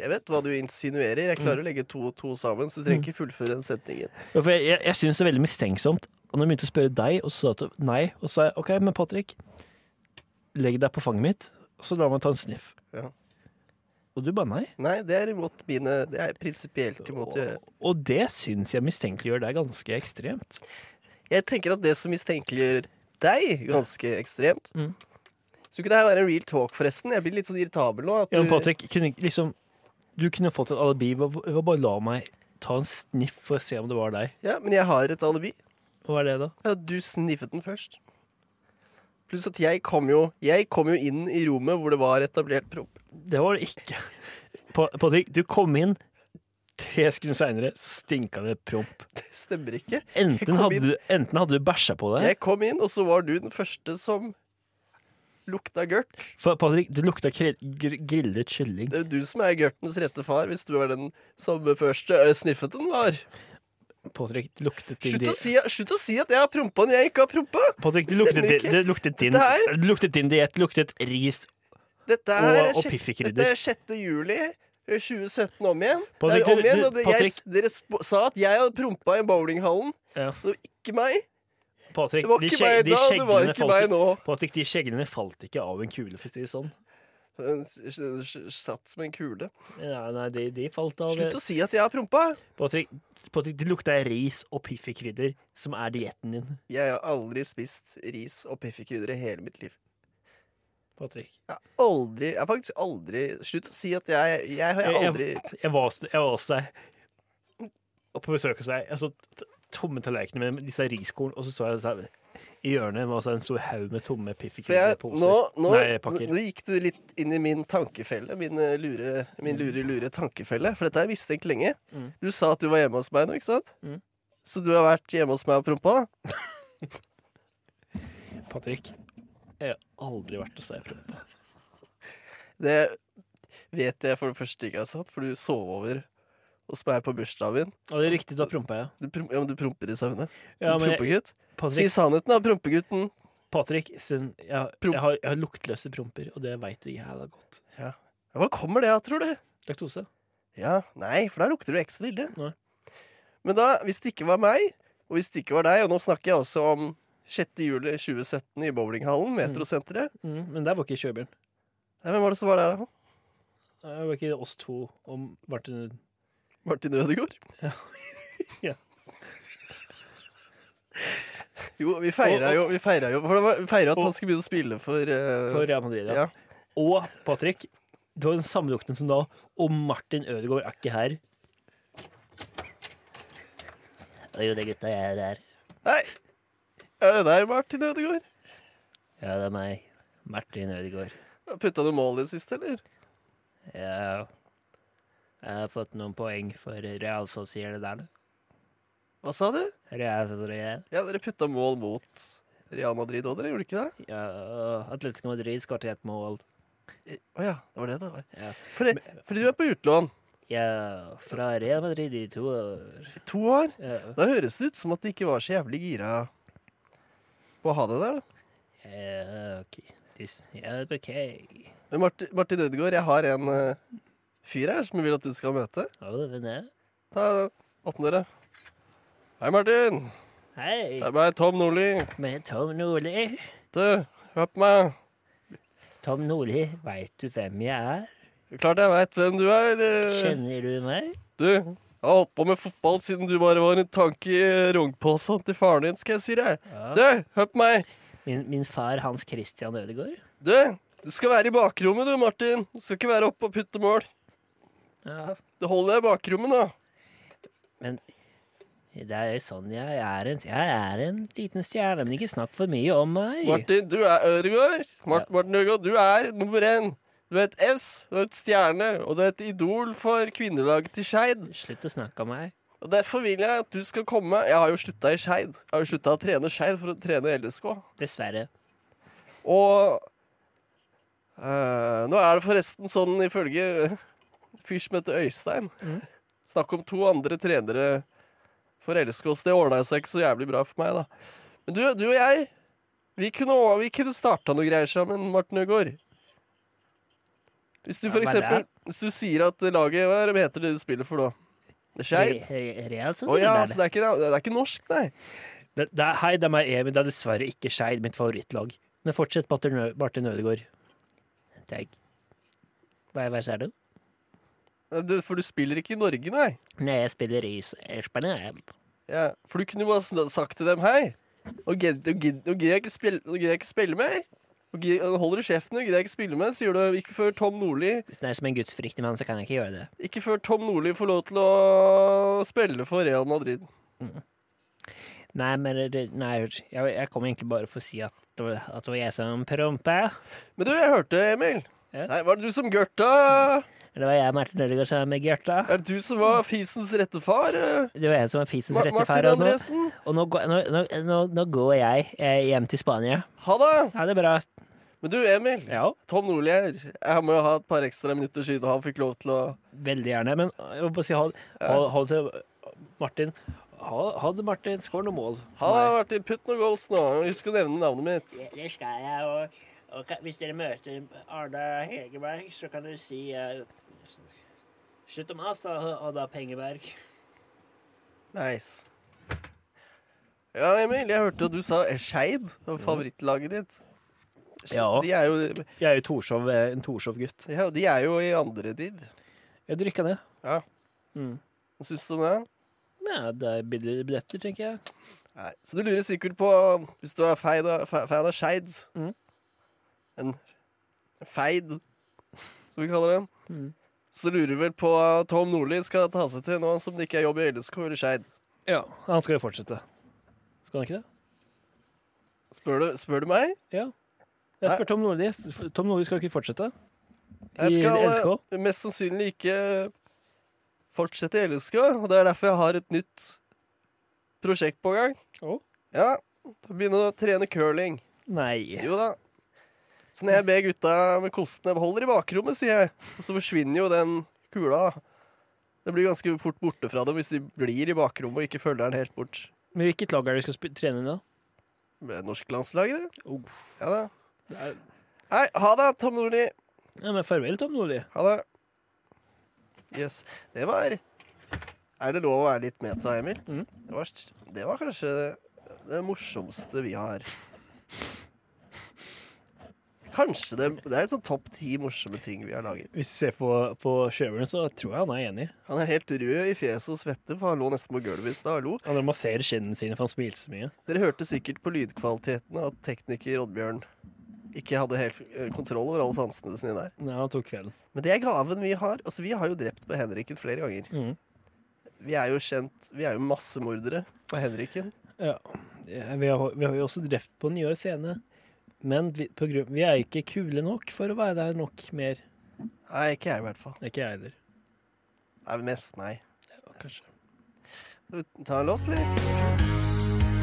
[SPEAKER 4] Jeg vet hva du insinuerer. Jeg
[SPEAKER 3] Mm.
[SPEAKER 4] klarer å legge to og to sammen, så du trenger ikke fullføre den setningen.
[SPEAKER 3] Ja, For jeg, jeg, jeg syns det er veldig mistenksomt. Og når jeg begynte å spørre deg, og så sa du nei, og så sa jeg OK, men Patrick, legg deg på fanget mitt, og så la meg ta en sniff.
[SPEAKER 4] Ja.
[SPEAKER 3] Og du bare nei.
[SPEAKER 4] Nei, det er imot mine Det er prinsipielt imot å gjøre.
[SPEAKER 3] Og, og det syns jeg mistenkeliggjør deg ganske ekstremt.
[SPEAKER 4] Jeg tenker at det som mistenkeliggjør deg ganske ekstremt
[SPEAKER 3] Mm.
[SPEAKER 4] Skulle ikke det her være en real talk, forresten? Jeg blir litt sånn irritabel nå. At
[SPEAKER 3] Ja, men
[SPEAKER 4] du-
[SPEAKER 3] Patrick, kunne, ikke- liksom, du kunne fått et alibi ved å- ved å bare la meg ta en sniff for å se om det var deg.
[SPEAKER 4] ja, men jeg har et alibi.
[SPEAKER 3] Hva er det, da?
[SPEAKER 4] Ja, du sniffet den først. Pluss at jeg kom jo Jeg kom jo inn i rommet hvor det var etablert propp.
[SPEAKER 3] Det var det ikke. Pa- Patrick, du kom inn tre sekunder seinere, så stinka det promp.
[SPEAKER 4] Det stemmer ikke.
[SPEAKER 3] Enten
[SPEAKER 4] kom
[SPEAKER 3] hadde
[SPEAKER 4] inn-
[SPEAKER 3] du, enten hadde du bæsja på deg
[SPEAKER 4] Jeg kom inn, og så var du den første som lukta gørt.
[SPEAKER 3] For Patrick, det lukta kre- gr grillet kylling.
[SPEAKER 4] Det er jo du som er gørtens rette far, hvis du er den samme første øh, sniffet den var.
[SPEAKER 3] Patrick, det luktet din
[SPEAKER 4] Slutt å si, slutt å si at jeg har prompa når jeg ikke har prompa!
[SPEAKER 3] Patrick, det
[SPEAKER 4] Det
[SPEAKER 3] luktet,
[SPEAKER 4] stemmer
[SPEAKER 3] din-
[SPEAKER 4] ikke.
[SPEAKER 3] det luktet din
[SPEAKER 4] Dette her-
[SPEAKER 3] Det luktet din diett. Det luktet ris.
[SPEAKER 4] Dette
[SPEAKER 3] Og-
[SPEAKER 4] er,
[SPEAKER 3] og
[SPEAKER 4] sjek-
[SPEAKER 3] piffikrydder.
[SPEAKER 4] dette er 6. juli eh, 2017 om igjen.
[SPEAKER 3] Patrick,
[SPEAKER 4] det er om
[SPEAKER 3] du-
[SPEAKER 4] igjen
[SPEAKER 3] du-
[SPEAKER 4] og det, jeg,
[SPEAKER 3] Patrick.
[SPEAKER 4] dere sp sa at jeg hadde prompa i bowlinghallen.
[SPEAKER 3] Ja.
[SPEAKER 4] Det var ikke meg.
[SPEAKER 3] Patrick,
[SPEAKER 4] Det var
[SPEAKER 3] de
[SPEAKER 4] ikke
[SPEAKER 3] skjeg-
[SPEAKER 4] meg
[SPEAKER 3] de
[SPEAKER 4] da, det var
[SPEAKER 3] skjeggene
[SPEAKER 4] ikke
[SPEAKER 3] falt
[SPEAKER 4] meg
[SPEAKER 3] i-
[SPEAKER 4] nå.
[SPEAKER 3] Patrick, de skjeglene falt ikke av en kule, for å si det sånn.
[SPEAKER 4] Den s- s- s- satt som en kule.
[SPEAKER 3] Nei, nei de, de falt av
[SPEAKER 4] Slutt å si at jeg har prompa!
[SPEAKER 3] Patrick, Patrick, det lukta ris og piffikrydder, som er dietten din.
[SPEAKER 4] Jeg har aldri spist ris og piffikrydder i hele mitt liv.
[SPEAKER 3] Patrick.
[SPEAKER 4] Jeg har aldri, jeg har faktisk aldri Slutt å si at jeg, jeg har
[SPEAKER 3] Jeg-
[SPEAKER 4] aldri
[SPEAKER 3] Jeg var hos- jeg var hos deg og på besøk hos deg. Jeg så t- tomme tallerkener med disse riskorn, og så så jeg så her- i hjørnet var det en stor haug med tomme
[SPEAKER 4] For jeg,
[SPEAKER 3] piffikrydderposer.
[SPEAKER 4] nå, nå,
[SPEAKER 3] Nei,
[SPEAKER 4] nå
[SPEAKER 3] pakker.
[SPEAKER 4] nå gikk du litt inn i min tankefelle. Min eh, lure, min lure, lure tankefelle. For dette har jeg mistenkt lenge.
[SPEAKER 3] Mm.
[SPEAKER 4] Du sa at du var hjemme hos meg nå, ikke sant?
[SPEAKER 3] Mm.
[SPEAKER 4] Så du har vært hjemme hos meg og prompa? da?
[SPEAKER 3] Patrick, jeg har aldri vært hos deg. Prøv.
[SPEAKER 4] Det vet jeg for det første ikke er sant, for du sov over hos meg på bursdagen min.
[SPEAKER 3] Og det er riktig, da prompa jeg.
[SPEAKER 4] Du, prom, ja, men du promper i søvne.
[SPEAKER 3] Ja,
[SPEAKER 4] du
[SPEAKER 3] men jeg
[SPEAKER 4] prompegutt. Si
[SPEAKER 3] Patrick,
[SPEAKER 4] sannheten, da, prompegutten.
[SPEAKER 3] Patrick sin, jeg, har-
[SPEAKER 4] Promp.
[SPEAKER 3] jeg, har, jeg har luktløse promper, og det veit du jævla godt.
[SPEAKER 4] Ja, Hva kommer det av, tror du?
[SPEAKER 3] Laktose?
[SPEAKER 4] Ja, nei, for da lukter du ekstra ille.
[SPEAKER 3] Nei.
[SPEAKER 4] Men da, hvis det ikke var meg, og hvis det ikke var deg, og nå snakker jeg også om 6. juli 2017 i bowlinghallen, metrosenteret.
[SPEAKER 3] Mm, men der var ikke Kjøbjørn.
[SPEAKER 4] Nei, hvem var det som var der da?
[SPEAKER 3] Det var ikke oss to og Martin
[SPEAKER 4] Martin Ødegaard?
[SPEAKER 3] Ja.
[SPEAKER 4] Jo, vi feira jo, vi feiret jo, for det var, vi feira at
[SPEAKER 3] Og-
[SPEAKER 4] han skulle begynne å spille for, eh,
[SPEAKER 3] for Real Madrid. Ja.
[SPEAKER 4] ja.
[SPEAKER 3] Og Patrick. Det var den samme lukten som da. Og Martin Ødegaard er ikke her. Og jo, det gutta, jeg er her.
[SPEAKER 4] Nei! Er det der Martin Ødegaard?
[SPEAKER 3] Ja, det er meg. Martin Ødegaard.
[SPEAKER 4] Putta du mål i det siste, eller?
[SPEAKER 3] Ja. Jeg har fått noen poeng for Real Sociedad.
[SPEAKER 4] Hva sa du?
[SPEAKER 3] Real Sociedad.
[SPEAKER 4] Ja, dere putta mål mot Real Madrid òg, dere? Gjorde dere ikke det?
[SPEAKER 3] Ja, og Atletico Madrid skåret et mål.
[SPEAKER 4] Å ja, det var det det var.
[SPEAKER 3] Ja.
[SPEAKER 4] Fordi, fordi du er på utlån
[SPEAKER 3] Ja, fra Real Madrid i to år.
[SPEAKER 4] i to år.
[SPEAKER 3] Ja.
[SPEAKER 4] Da høres det ut som at de ikke var så jævlig gira på å ha det der. da.
[SPEAKER 3] Ja, Eh, ok. Dis- Ja, ok.
[SPEAKER 4] Men Martin, Martin Ødegaard, jeg har en eh, fyr her som jeg vil at du skal møte.
[SPEAKER 3] Har du det?
[SPEAKER 4] Ta Åpne dere. Hei, Martin.
[SPEAKER 3] Hei,
[SPEAKER 4] Det er meg, Tom Nordli.
[SPEAKER 3] med Tom Nordli.
[SPEAKER 4] Du, hør på meg.
[SPEAKER 3] Tom Nordli, veit du hvem jeg er?
[SPEAKER 4] Klart jeg veit hvem du er. eh.
[SPEAKER 3] Kjenner du meg?
[SPEAKER 4] Du, jeg har holdt på med fotball siden du bare var en tanke i rognposen til faren din, skal jeg si deg. Du, hør på meg.
[SPEAKER 3] Min, min far Hans Christian Ødegaard.
[SPEAKER 4] Du, du skal være i bakrommet du, Martin. Du skal ikke være oppe og putte mål.
[SPEAKER 3] Ja,
[SPEAKER 4] Det holder jeg i bakrommet, da.
[SPEAKER 3] men det er sånn jeg er en Jeg er en liten stjerne, men ikke snakk for mye om meg.
[SPEAKER 4] Martin, du er Ødegaard. Mart
[SPEAKER 3] Ja.
[SPEAKER 4] Martin Ødegaard, du er nummer én. Du er et S, du er et stjerne, og du er et idol for kvinnelaget til Skeid.
[SPEAKER 3] Slutt å snakke om meg.
[SPEAKER 4] Og Derfor vil jeg at du skal komme Jeg har jo slutta i Skeid. Jeg har jo slutta å trene Skeid for å trene LSK.
[SPEAKER 3] Dessverre.
[SPEAKER 4] Og eh, nå er det forresten sånn ifølge fyr som heter Øystein
[SPEAKER 3] Mm.
[SPEAKER 4] Snakk om to andre trenere for LSK, så det ordna seg ikke så jævlig bra for meg, da. Men du, du og jeg, vi kunne, vi kunne starta noe greier sammen, Morten Øgaard. Hvis du
[SPEAKER 3] Ja,
[SPEAKER 4] for
[SPEAKER 3] hva er
[SPEAKER 4] eksempel
[SPEAKER 3] det?
[SPEAKER 4] Hvis du sier at laget Hva er det heter det du spiller for, da? Det er Skeid?
[SPEAKER 3] Re- re- Real
[SPEAKER 4] Å ja,
[SPEAKER 3] Sociedad.
[SPEAKER 4] så det er, ikke, det er ikke norsk, nei.
[SPEAKER 3] Det, det er, hei, det er meg, Emil. Det er dessverre ikke Skeid, mitt favorittlag. Men fortsett, Martin Ø- Martin Ødegaard. Takk. Hva hva er det?
[SPEAKER 4] Du, for du spiller ikke i Norge, nei.
[SPEAKER 3] Når jeg spiller i s- i Spania
[SPEAKER 4] Ja, for du kunne jo bare sn- sagt til dem Hei, nå gidder nå gidder- nå gidder jeg ikke spille, nå gidder jeg ikke spille mer. Nå gidder- nå holder du kjeften, nå gidder jeg ikke spille mer. Sier du ikke før Tom Nordli
[SPEAKER 3] Hvis det er som en gudsfryktig mann, så kan jeg ikke gjøre det.
[SPEAKER 4] Ikke før Tom Nordli får lov til å spille for Real Madrid.
[SPEAKER 3] Nei, men det, nei, jeg, jeg kom egentlig bare for å si at det var, at det var jeg som prompa.
[SPEAKER 4] Men du, jeg hørte, Emil.
[SPEAKER 3] Ja.
[SPEAKER 4] Nei, var det du som gørta?
[SPEAKER 3] Det var jeg, Martin Ødegaard, som er med Gerta.
[SPEAKER 4] Er det du som var fisens rette far? eh?
[SPEAKER 3] Det var jeg som var fisens
[SPEAKER 4] Ma
[SPEAKER 3] rette
[SPEAKER 4] Martin
[SPEAKER 3] far. Og, nå,
[SPEAKER 4] Andresen?
[SPEAKER 3] og nå, går- nå, nå, nå, nå går jeg eh, hjem til Spania.
[SPEAKER 4] Ha det!
[SPEAKER 3] Ja, det er bra.
[SPEAKER 4] Men du, Emil.
[SPEAKER 3] Ja,
[SPEAKER 4] Tom Nordli her. Jeg må jo ha et par ekstra minutter siden han fikk lov til å
[SPEAKER 3] Veldig gjerne, men jeg må bare si hold, hold, hold til Martin. Hold, hold Martin, skår noen mål.
[SPEAKER 4] Ha det, Martin. Putt noen goals nå. Husk å nevne navnet mitt.
[SPEAKER 3] Det, det skal jeg, og, og ka- hvis dere møter Arne Hegerberg, så kan dere si eh, Slutt å mase, og- og da Pengeberg.
[SPEAKER 4] Nice. Ja, Emil, jeg hørte at du sa Skeid var favorittlaget ditt. Så
[SPEAKER 3] Ja.
[SPEAKER 4] De er jo,
[SPEAKER 3] Jeg er jo Torshov, eh, en Torshov-gutt.
[SPEAKER 4] ja, de er jo i andre tid.
[SPEAKER 3] Jeg drikka det.
[SPEAKER 4] Ja.
[SPEAKER 3] Mm.
[SPEAKER 4] Hva syns du om det?
[SPEAKER 3] Ja, det er billigere billetter, tenker jeg.
[SPEAKER 4] Nei. Så du lurer sikkert på, hvis du er feid av, fe- fan av Skeid
[SPEAKER 3] Mhm.
[SPEAKER 4] En feid, som vi kaller dem.
[SPEAKER 3] Mhm.
[SPEAKER 4] Så lurer du vel på hva Tom Nordli skal ta seg til nå som det ikke er jobb i LSK eller Skeid.
[SPEAKER 3] Ja, han skal jo fortsette. Skal han ikke det?
[SPEAKER 4] Spør, du- spør du meg?
[SPEAKER 3] Ja. Jeg spør Tom Nordli. Tom Nordli skal jo ikke fortsette.
[SPEAKER 4] Jeg
[SPEAKER 3] I
[SPEAKER 4] skal
[SPEAKER 3] LSK?
[SPEAKER 4] eh, mest sannsynlig ikke fortsette i LSK, og det er derfor jeg har et nytt prosjekt på gang.
[SPEAKER 3] Å?
[SPEAKER 4] Ja, Begynne å trene curling.
[SPEAKER 3] Nei.
[SPEAKER 4] Jo da. Så når jeg ber gutta med kostene holder i bakrommet, sier jeg, og så forsvinner jo den kula. da. Det blir ganske fort borte fra dem hvis de blir i bakrommet og ikke følger den helt bort.
[SPEAKER 3] Men hvilket lag er det du skal sp- trene i da?
[SPEAKER 4] Med norsk landslag, det.
[SPEAKER 3] Oh.
[SPEAKER 4] Ja da. Nei, ha det, Tom Nordli.
[SPEAKER 3] Ja, men farvel, Tom Nordli.
[SPEAKER 4] Ha det. Jøss. Yes. Det var Er det lov å være litt meta, Emil?
[SPEAKER 3] Mhm.
[SPEAKER 4] Det, var, det var kanskje det morsomste vi har. Kanskje det Det er et sånn topp ti morsomme ting vi har laget.
[SPEAKER 3] Hvis du ser på, på sjøveren, så tror jeg han er enig.
[SPEAKER 4] Han er helt rød i fjeset og svetter, for han lå nesten på gulvet i stad. Hallo.
[SPEAKER 3] Han må massere skinnene sine, for han smilte så mye.
[SPEAKER 4] Dere hørte sikkert på lydkvaliteten at tekniker Oddbjørn ikke hadde helt eh, kontroll over alle sansene sine der.
[SPEAKER 3] Nei, han tok kvelden.
[SPEAKER 4] Men det er gaven vi har. Altså, vi har jo drept på Henriken flere ganger.
[SPEAKER 3] Mhm.
[SPEAKER 4] Vi er jo kjent Vi er jo massemordere på Henriken.
[SPEAKER 3] Ja. Vi har, vi har jo også drept på Nyår scene, men vi, på grunn, vi er ikke kule nok for å være der nok mer.
[SPEAKER 4] Nei, ikke jeg i hvert fall.
[SPEAKER 3] Ikke jeg heller.
[SPEAKER 4] Nei, mest nei.
[SPEAKER 3] Kanskje.
[SPEAKER 4] Ta en låt, eller?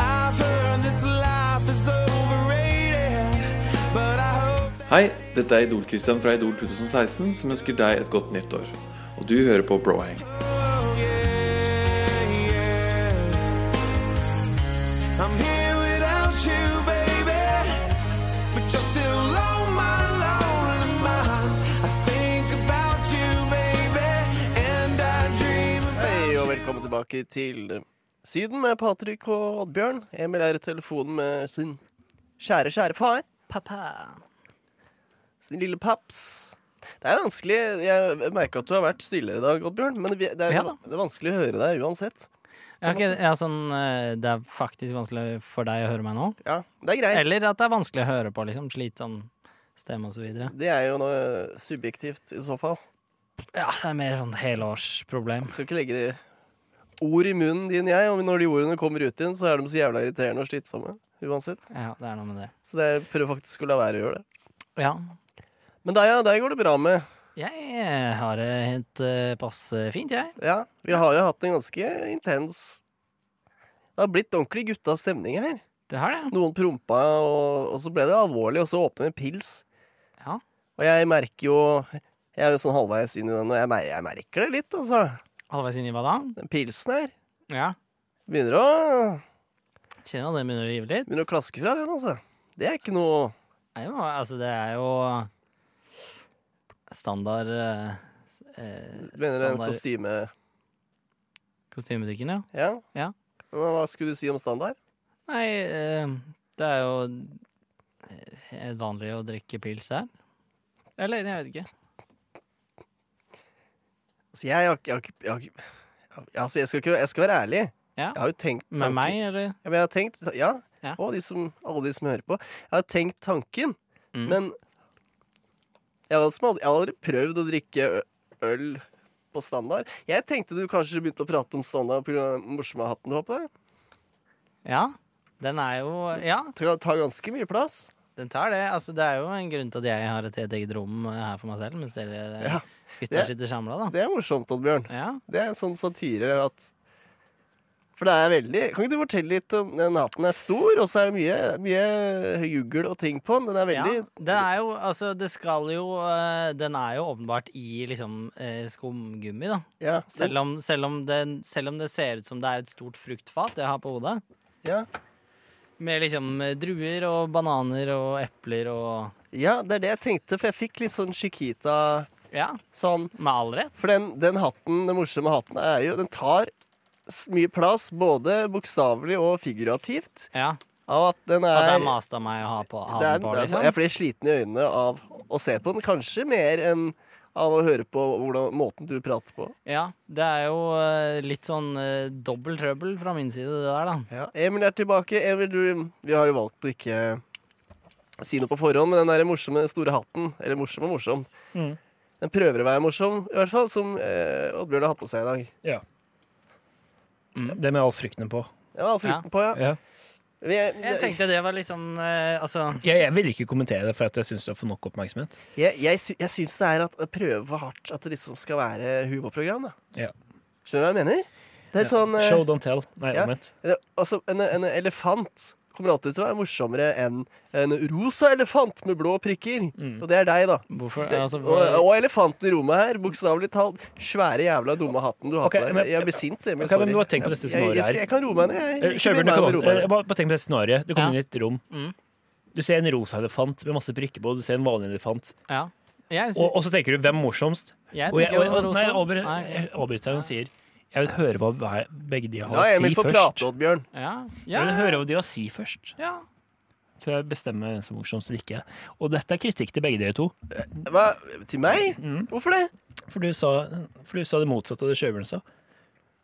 [SPEAKER 2] I've heard this life is overrated, but I hope.
[SPEAKER 1] Hei, dette er Idol-Christian fra Idol 2016 som ønsker deg et godt nytt år. Og du hører på Brohang.
[SPEAKER 2] Oh yeah, yeah. I'm here without you, baby, but you're still on my lonely mind. I think about you, baby, and I dream about
[SPEAKER 4] Hei, og velkommen tilbake til eh, Syden med Patrik og Oddbjørn. Emil er i telefonen med sin kjære, kjære far.
[SPEAKER 5] Pappa.
[SPEAKER 4] Sin lille paps. Det er vanskelig Jeg merker at du har vært stille i dag, Oddbjørn, men vi- det er,
[SPEAKER 5] Ja da.
[SPEAKER 4] det er vanskelig å høre deg uansett.
[SPEAKER 5] Ja, ok, ja, sånn, eh, det er faktisk vanskelig for deg å høre meg nå.
[SPEAKER 4] Ja, Det er greit.
[SPEAKER 5] Eller at det er vanskelig å høre på, liksom. Slitsom stemme og så videre.
[SPEAKER 4] Det er jo noe subjektivt i så fall.
[SPEAKER 5] Ja, det er mer sånn helårsproblem.
[SPEAKER 4] Jeg skal ikke legge de ord i munnen din, jeg. Og når de ordene kommer ut igjen, så er de så jævla irriterende og slitsomme. Uansett.
[SPEAKER 5] Ja, det er noe med det.
[SPEAKER 4] Så det jeg prøver faktisk å la være å gjøre det.
[SPEAKER 5] Ja.
[SPEAKER 4] Men deg, ja. Deg går det bra med.
[SPEAKER 5] Jeg har det helt eh, passe fint, jeg.
[SPEAKER 4] Ja, vi har jo hatt en ganske intens Det har blitt ordentlig gutta stemning her.
[SPEAKER 5] Det har det.
[SPEAKER 4] Noen prompa, og, og så ble det alvorlig, og så åpnet en pils.
[SPEAKER 5] Ja.
[SPEAKER 4] Og jeg merker jo Jeg er jo sånn halvveis inn i den, og jeg, mer, jeg merker det litt, altså.
[SPEAKER 5] Halvveis inn i hva da?
[SPEAKER 4] Den pilsen her
[SPEAKER 5] Ja.
[SPEAKER 4] begynner å,
[SPEAKER 5] Kjenner at det begynner å rive litt.
[SPEAKER 4] begynner å klaske fra den, altså. Det er ikke noe
[SPEAKER 5] Nei, jo, altså, det er jo standard eh, eh,
[SPEAKER 4] Mener en
[SPEAKER 5] standard
[SPEAKER 4] kostyme
[SPEAKER 5] kostymebutikken, ja.
[SPEAKER 4] Ja?
[SPEAKER 5] Ja.
[SPEAKER 4] Men hva skulle du si om standard?
[SPEAKER 5] Nei, eh, det er jo eh, helt vanlig å drikke pils her. Eller, jeg vet ikke.
[SPEAKER 4] Altså, jeg har ikke jeg har ikke- jeg har ikke- ja, Altså, jeg skal, ikke, jeg skal være ærlig.
[SPEAKER 5] Ja.
[SPEAKER 4] Jeg har jo tenkt
[SPEAKER 5] Med
[SPEAKER 4] tanken-
[SPEAKER 5] meg, eller?
[SPEAKER 4] Ja, men jeg har tenkt Ja,
[SPEAKER 5] Ja.
[SPEAKER 4] og de som, alle de som hører på. Jeg har tenkt tanken,
[SPEAKER 5] Mm.
[SPEAKER 4] men jeg har, også aldri, jeg har aldri prøvd å drikke ø- øl på standard. Jeg tenkte du kanskje begynte å prate om standard pga. den morsomme hatten du har på deg.
[SPEAKER 5] Ja. Den er jo Ja,
[SPEAKER 4] Ta, ta ganske mye plass.
[SPEAKER 5] den tar det. Altså, det er jo en grunn til at jeg har et helt eget rom eh, her for meg selv, mens dere eh,
[SPEAKER 4] Ja.
[SPEAKER 5] gutta
[SPEAKER 4] Det-
[SPEAKER 5] sitter samla, da.
[SPEAKER 4] Det er morsomt, Oddbjørn.
[SPEAKER 5] Ja.
[SPEAKER 4] Det er en sånn satire at For det er veldig Kan ikke du fortelle litt om den hatten er stor, og så er det mye, mye juggel og ting på den. Den er veldig
[SPEAKER 5] Ja, den er jo, altså, det skal jo eh, Den er jo åpenbart i liksom eh, skumgummi, da.
[SPEAKER 4] Ja.
[SPEAKER 5] Selv om, selv, om det, selv om det ser ut som det er et stort fruktfat jeg har på hodet.
[SPEAKER 4] ja.
[SPEAKER 5] Med liksom eh, druer og bananer og epler og
[SPEAKER 4] ja, det er det jeg tenkte, for jeg fikk litt sånn Chiquita
[SPEAKER 5] Ja,
[SPEAKER 4] sånn
[SPEAKER 5] med all rett.
[SPEAKER 4] For den, den hatten, den morsomme hatten, er jo Den tar s- mye plass, både bokstavelig og figurativt.
[SPEAKER 5] Ja.
[SPEAKER 4] Av at den
[SPEAKER 5] At det
[SPEAKER 4] er,
[SPEAKER 5] er mast av meg å ha på ha
[SPEAKER 4] det er,
[SPEAKER 5] den på,
[SPEAKER 4] det er,
[SPEAKER 5] liksom.
[SPEAKER 4] Jeg blir sliten i øynene av å se på den, kanskje mer enn av å høre på hvordan, måten du prater på.
[SPEAKER 5] Ja, det er jo eh, litt sånn eh, dobbel trøbbel fra min side, det der, da.
[SPEAKER 4] Emil er tilbake. Emil, du, vi har jo valgt å ikke si noe på forhånd, men den der morsomme store hatten Eller morsom og morsom.
[SPEAKER 3] Mm.
[SPEAKER 4] Den prøver å være morsom, i hvert fall, som eh, Oddbjørn har hatt på seg i dag.
[SPEAKER 3] Det med all frykten på.
[SPEAKER 4] Ja, frukten på, ja.
[SPEAKER 3] Mm. Ja.
[SPEAKER 4] Vi,
[SPEAKER 5] Jeg tenkte det var liksom eh, Altså
[SPEAKER 3] Jeg, jeg vil ikke kommentere det, for at jeg syns du har fått nok oppmerksomhet.
[SPEAKER 4] Jeg, jeg, sy jeg syns det er at å prøve for hardt at det liksom skal være humorprogram. da.
[SPEAKER 3] Ja.
[SPEAKER 4] Skjønner du hva jeg mener? Det er sånn eh,
[SPEAKER 3] Show, don't tell. Nei,
[SPEAKER 4] ja.
[SPEAKER 3] omvendt.
[SPEAKER 4] det- altså, en, en elefant kommer alltid til å være morsommere enn en rosa elefant med blå prikker.
[SPEAKER 3] Mm.
[SPEAKER 4] Og det er deg, da.
[SPEAKER 5] Hvorfor
[SPEAKER 4] Det,
[SPEAKER 5] altså,
[SPEAKER 4] og, og elefanten i rommet her, bokstavelig talt. Svære jævla dumme hatten du har
[SPEAKER 3] Ok,
[SPEAKER 4] på deg.
[SPEAKER 3] men-
[SPEAKER 4] Jeg blir sint, Emil.
[SPEAKER 3] Ok, men
[SPEAKER 4] sorry.
[SPEAKER 3] du har tenkt på dette
[SPEAKER 4] Jeg-
[SPEAKER 3] scenarioet
[SPEAKER 4] jeg, jeg, skal-
[SPEAKER 3] her.
[SPEAKER 4] jeg kan roe meg ned. jeg.
[SPEAKER 3] Eh,
[SPEAKER 4] Ikke
[SPEAKER 3] Kjørbjørn,
[SPEAKER 4] bli
[SPEAKER 3] du
[SPEAKER 4] meg
[SPEAKER 3] kan
[SPEAKER 4] med å roe
[SPEAKER 3] holde-
[SPEAKER 4] meg
[SPEAKER 3] eh,
[SPEAKER 4] ned.
[SPEAKER 3] bare bare tenk på det scenarioet. Du kommer
[SPEAKER 5] Ja.
[SPEAKER 3] inn i et rom.
[SPEAKER 5] Mm.
[SPEAKER 3] Du ser en rosa elefant med masse prikker på, og du ser en vanlig elefant.
[SPEAKER 5] Ja. Jeg,
[SPEAKER 3] Og, og så tenker du 'hvem er morsomst'?
[SPEAKER 5] jeg
[SPEAKER 3] Og jeg,
[SPEAKER 5] tenker
[SPEAKER 3] og,
[SPEAKER 5] jo
[SPEAKER 3] og, nei,
[SPEAKER 5] rosa.
[SPEAKER 3] jeg avbry-
[SPEAKER 5] Nei,
[SPEAKER 3] jeg avbryter deg og sier 'jeg vil høre hva hver- begge de har å
[SPEAKER 4] La
[SPEAKER 3] si
[SPEAKER 4] Emil få
[SPEAKER 3] først'.
[SPEAKER 4] prate, Oddbjørn.
[SPEAKER 5] Ja.
[SPEAKER 3] Jeg vil
[SPEAKER 5] Ja.
[SPEAKER 3] høre hva de har å si først,
[SPEAKER 5] ja.
[SPEAKER 3] før jeg bestemmer hvem som er morsomst eller ikke. Og dette er kritikk til begge dere to.
[SPEAKER 4] Hva? Til meg?
[SPEAKER 3] Mm.
[SPEAKER 4] Hvorfor det?
[SPEAKER 3] For du sa, for du sa det motsatte av det Sjøbjørn sa.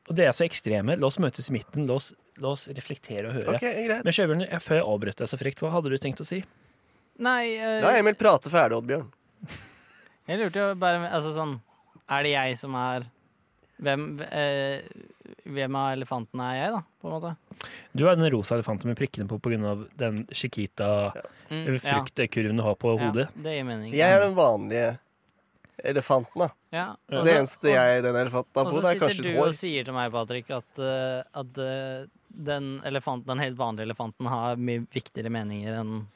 [SPEAKER 3] Og dere er så ekstreme. La oss møtes i midten. La oss, la oss reflektere og høre.
[SPEAKER 4] Ok, greit.
[SPEAKER 3] Men Sjøbjørn, jeg- før jeg avbrøt deg så frekt, hva hadde du tenkt å si?
[SPEAKER 5] Nei, eh,
[SPEAKER 4] La Emil prate ferdig, Oddbjørn.
[SPEAKER 5] Jeg lurte jo bare Altså sånn Er det jeg som er Hvem, eh, hvem av elefantene er jeg, da? På en måte.
[SPEAKER 3] Du er den rosa elefanten med prikkene på pga. den Chiquita-fruktkurven
[SPEAKER 5] Mm,
[SPEAKER 3] du har på
[SPEAKER 5] ja,
[SPEAKER 3] hodet.
[SPEAKER 5] Ja, det gir mening.
[SPEAKER 4] Jeg er den vanlige elefanten, da.
[SPEAKER 5] ja.
[SPEAKER 3] Ja.
[SPEAKER 5] og
[SPEAKER 4] det
[SPEAKER 5] så-
[SPEAKER 4] eneste jeg den elefanten har
[SPEAKER 5] Og
[SPEAKER 4] på,
[SPEAKER 5] så
[SPEAKER 4] det er
[SPEAKER 5] sitter
[SPEAKER 4] kanskje
[SPEAKER 5] du
[SPEAKER 4] et
[SPEAKER 5] og
[SPEAKER 4] hår.
[SPEAKER 5] sier til meg, Patrick, at, eh, at eh, den elefanten, den helt vanlige elefanten, har mye viktigere meninger enn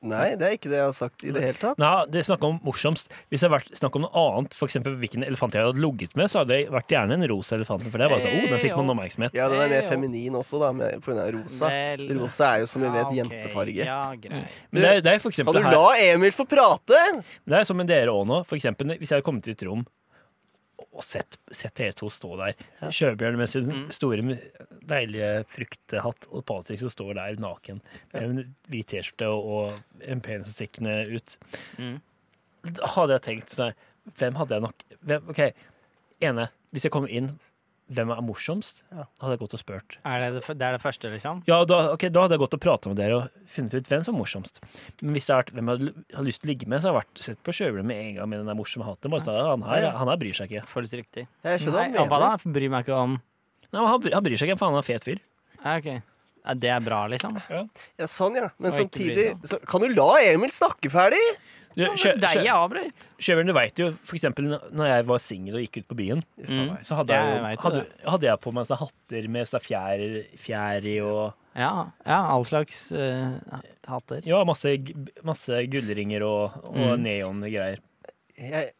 [SPEAKER 4] Nei, det er ikke det jeg har sagt i det hele tatt.
[SPEAKER 3] Nei, det er snakk om morsomst. Hvis det hadde vært snakk om noe annet, f.eks. hvilken elefant jeg hadde ligget med, så hadde det vært gjerne en rosa elefant. For det er bare sånn, oh, den fikk man oppmerksomhet.
[SPEAKER 4] Ja, den er
[SPEAKER 5] Eh,
[SPEAKER 4] mer
[SPEAKER 5] jo.
[SPEAKER 4] feminin også, da, med- på grunn av rosa.
[SPEAKER 5] Vel,
[SPEAKER 4] Rosa er jo som vi
[SPEAKER 5] ja,
[SPEAKER 4] vet
[SPEAKER 5] ok,
[SPEAKER 4] jentefarge.
[SPEAKER 5] Ja, greit.
[SPEAKER 3] Men det er, det er for
[SPEAKER 4] Kan
[SPEAKER 3] eksempel
[SPEAKER 4] du
[SPEAKER 3] her
[SPEAKER 4] la Emil få prate?
[SPEAKER 3] Det er som med dere òg nå. For eksempel, hvis jeg hadde kommet til et rom, og sett, sett dere to stå der. Sjøbjørn med sin store, deilige fruktehatt, og Patrick som står der naken med en hvit T-skjorte og og en penis som stikker ned ut.
[SPEAKER 5] Mm.
[SPEAKER 3] Da hadde jeg tenkt sånn her, Hvem hadde jeg nok hvem, OK, ene. Hvis jeg kommer inn, hvem er morsomst?
[SPEAKER 4] Ja.
[SPEAKER 3] Hadde jeg gått og spurt.
[SPEAKER 5] Er det, det, f- det er det første, liksom?
[SPEAKER 3] Ja, da, ok, da hadde jeg gått og pratet med dere og funnet ut hvem som er morsomst. Men hvis det har vært hvem jeg hadde l- hadde lyst til å ligge med, så har jeg vært sett på Sjøbjørn med en gang med den der morsomme hatten. Bare, sånn, han, her, han her bryr seg ikke.
[SPEAKER 5] Føles riktig.
[SPEAKER 4] Jeg skjønner
[SPEAKER 5] Nei,
[SPEAKER 4] hva
[SPEAKER 5] hva da?
[SPEAKER 4] han mener.
[SPEAKER 5] Bryr meg ikke om
[SPEAKER 3] Nei, men han, bry- han bryr seg ikke, for han er en fet fyr.
[SPEAKER 5] Ja, ok. Ja, det er bra, liksom?
[SPEAKER 4] Ja, sånn, ja. Men
[SPEAKER 5] Og ikke bry
[SPEAKER 4] samtidig så, Kan du la Emil snakke ferdig?
[SPEAKER 3] Du,
[SPEAKER 5] Sjø,
[SPEAKER 3] Sjø-
[SPEAKER 5] Deg
[SPEAKER 3] Sjø-
[SPEAKER 5] jeg avbrøt.
[SPEAKER 3] Sjøbjørn, du veit jo for eksempel når- når jeg var singel og gikk ut på byen,
[SPEAKER 5] Mm.
[SPEAKER 3] så hadde
[SPEAKER 5] Ja,
[SPEAKER 3] jeg,
[SPEAKER 5] jeg
[SPEAKER 3] jo-
[SPEAKER 5] vet jo
[SPEAKER 3] hadde, hadde jeg på meg sånne hatter med sånne fjær, fjær i og
[SPEAKER 5] Ja, ja, all slags eh, hatter.
[SPEAKER 3] Ja, masse, g- masse gullringer og, og
[SPEAKER 5] Mm.
[SPEAKER 3] neongreier.
[SPEAKER 4] Jeg,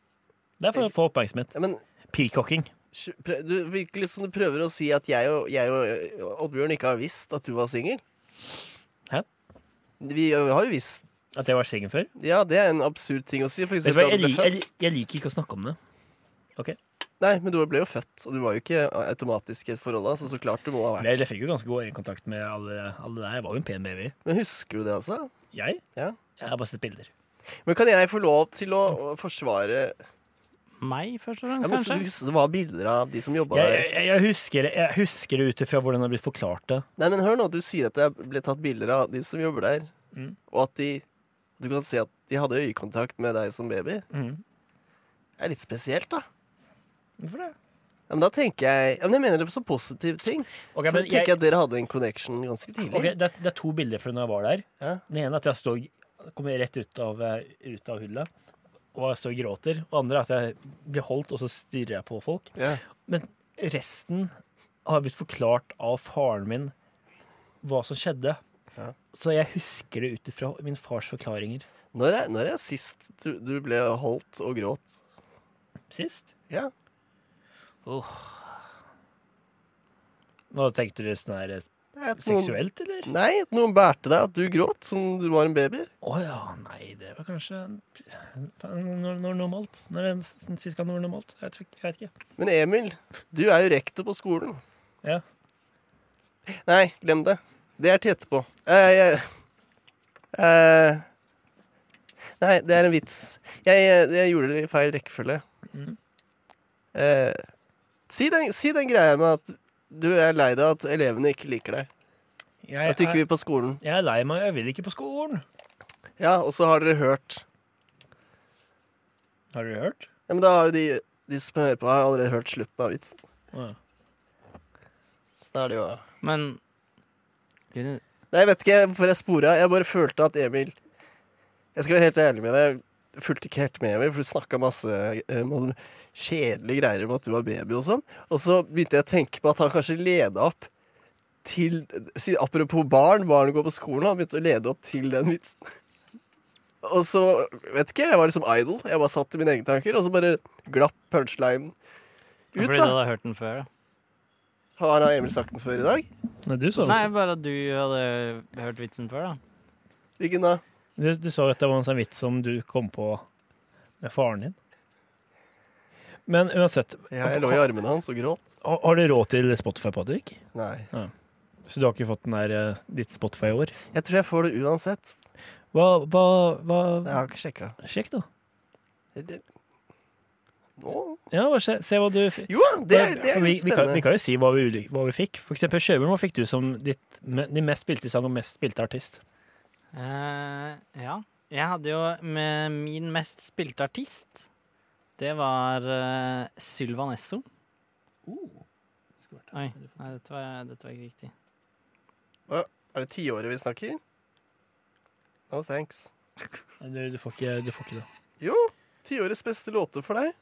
[SPEAKER 3] Det er for å få oppmerksomhet.
[SPEAKER 4] ja, men
[SPEAKER 3] Peacocking.
[SPEAKER 4] sj- prø- du virker litt som du prøver å si at jeg og, jeg og Oddbjørn ikke har visst at du var singel.
[SPEAKER 3] Hæ?
[SPEAKER 4] Vi har jo visst
[SPEAKER 3] At jeg var singel før.
[SPEAKER 4] Ja, det er en absurd ting å si. For
[SPEAKER 3] Vet du hva,
[SPEAKER 4] eksempel, at
[SPEAKER 3] jeg,
[SPEAKER 4] du ble
[SPEAKER 3] lik- jeg,
[SPEAKER 4] født.
[SPEAKER 3] jeg liker ikke å snakke om det.
[SPEAKER 4] Nei, men du ble jo født, og du var jo ikke eh, automatisk i et forhold da, så så klart du må ha
[SPEAKER 3] Men
[SPEAKER 4] vært
[SPEAKER 3] Jeg, jeg fikk jo ganske god øyekontakt med alle, alle der. Jeg var jo en pen baby.
[SPEAKER 4] Men husker du det, altså?
[SPEAKER 3] Jeg?
[SPEAKER 4] Ja.
[SPEAKER 3] Jeg har bare sett bilder.
[SPEAKER 4] Men kan jeg få lov til å å forsvare
[SPEAKER 5] Meg, først og
[SPEAKER 4] Ja,
[SPEAKER 5] fremst,
[SPEAKER 4] men så
[SPEAKER 5] kanskje?
[SPEAKER 4] husker Det var bilder av de som jobba
[SPEAKER 3] Jeg,
[SPEAKER 4] der.
[SPEAKER 3] jeg, jeg, husker, det- jeg husker det ut ifra hvordan det har blitt forklart. det
[SPEAKER 4] Nei, men hør nå, du sier at det ble tatt bilder av de som jobber der,
[SPEAKER 3] Mm.
[SPEAKER 4] og at de Du kan se at de hadde øyekontakt med deg som baby.
[SPEAKER 3] Mhm.
[SPEAKER 4] Det er litt spesielt, da.
[SPEAKER 3] Hvorfor det?
[SPEAKER 4] Ja, men da tenker jeg Ja, men jeg mener det på så positive ting.
[SPEAKER 3] Ok,
[SPEAKER 4] For
[SPEAKER 3] men
[SPEAKER 4] da
[SPEAKER 3] jeg,
[SPEAKER 4] tenker jeg at dere hadde en connection ganske tidlig.
[SPEAKER 3] ok, det, er, det er to bilder fra når jeg var der.
[SPEAKER 4] Ja.
[SPEAKER 3] Den ene er at jeg står, kommer rett ut av, eh, ut av hullet og jeg står og gråter. Og andre er at jeg blir holdt, og så stirrer jeg på folk.
[SPEAKER 4] Ja.
[SPEAKER 3] Men resten har blitt forklart av faren min hva som skjedde.
[SPEAKER 4] Ja.
[SPEAKER 3] Så jeg husker det ut ifra min fars forklaringer.
[SPEAKER 4] Når, er, når er sist du, du ble holdt og gråt?
[SPEAKER 3] Sist?
[SPEAKER 4] Ja.
[SPEAKER 3] Nå tenkte du sånn her eh,
[SPEAKER 4] Det er at noen-
[SPEAKER 3] seksuelt, eller?
[SPEAKER 4] Nei, at noen bærte deg, at du gråt som du var en baby.
[SPEAKER 3] Å ja, nei, det var kanskje Når, når normalt? Når en sist gang det var normalt? Jeg, tror, ikke- jeg vet ikke.
[SPEAKER 4] Men Emil, du er jo rektor på skolen.
[SPEAKER 3] Ja.
[SPEAKER 4] Nei, glem det. Det er til etterpå. Eh, jeg, eh, nei, det er en vits. Jeg, jeg, jeg gjorde det i feil rekkefølge.
[SPEAKER 3] Mhm.
[SPEAKER 4] Eh, si, den, si den greia med at du er lei deg at elevene ikke liker deg.
[SPEAKER 3] Jeg,
[SPEAKER 4] At du ikke
[SPEAKER 3] er-
[SPEAKER 4] vil på skolen.
[SPEAKER 3] jeg er lei meg, jeg vil ikke på skolen.
[SPEAKER 4] Ja, og så har dere hørt.
[SPEAKER 3] Har du hørt?
[SPEAKER 4] Ja, men da har jo de, de som hører på, har allerede hørt slutten av vitsen.
[SPEAKER 3] Å, ja.
[SPEAKER 4] Så da er det jo
[SPEAKER 5] Men Kunne-
[SPEAKER 4] Nei, jeg vet ikke hvorfor jeg spora. Jeg bare følte at Emil Jeg skal være helt ærlig med deg. Jeg fulgte ikke helt med, Emil, for du snakka masse, eh, masse kjedelige greier om at du var baby og sånn. Og så begynte jeg å tenke på at han kanskje leda opp til si- Apropos barn, barn går på skolen, han begynte å lede opp til den vitsen. Og så, vet ikke, jeg var liksom idol. Jeg bare satt i mine egne tanker, og så bare glapp punchlinen ut,
[SPEAKER 5] Fordi du
[SPEAKER 4] da.
[SPEAKER 5] hadde hørt den før, da.
[SPEAKER 4] Har Emil sagt den før i dag?
[SPEAKER 3] Nei, du sa,
[SPEAKER 5] Nei, bare at du hadde hørt vitsen før, da.
[SPEAKER 4] Hvilken da?
[SPEAKER 3] du, du sa at det var en sånn vits som du kom på med faren din. Men uansett,
[SPEAKER 4] Ja, jeg lå i armene hans og gråt.
[SPEAKER 3] har, har du råd til Spotify, Patrick?
[SPEAKER 4] Nei.
[SPEAKER 3] Så du har ikke fått den der eh, ditt Spotify i år?
[SPEAKER 4] Jeg tror jeg får det uansett.
[SPEAKER 3] Hva, hva, hva
[SPEAKER 4] Jeg har ikke sjekka.
[SPEAKER 3] Sjekk, da.
[SPEAKER 4] Nå?
[SPEAKER 3] Ja, bare se, se hva du f-
[SPEAKER 4] Jo, det, det
[SPEAKER 3] For
[SPEAKER 4] er
[SPEAKER 3] vi,
[SPEAKER 4] litt
[SPEAKER 3] vi, kan, vi
[SPEAKER 4] spennende.
[SPEAKER 3] kan jo si hva vi, uli- hva vi fikk. For eksempel Sjøbjørn, hva fikk du som ditt, me- din mest spilte sang og mest spilte artist?
[SPEAKER 5] Eh, ja. Jeg hadde jo med min mest spilte artist. Det var uh, Sylvan Esso. Oi, nei, dette var, dette var ikke riktig.
[SPEAKER 4] Er det tiåret vi snakker? No thanks.
[SPEAKER 3] Du, du, får ikke, du får ikke det.
[SPEAKER 4] Jo, tiårets beste låter for deg.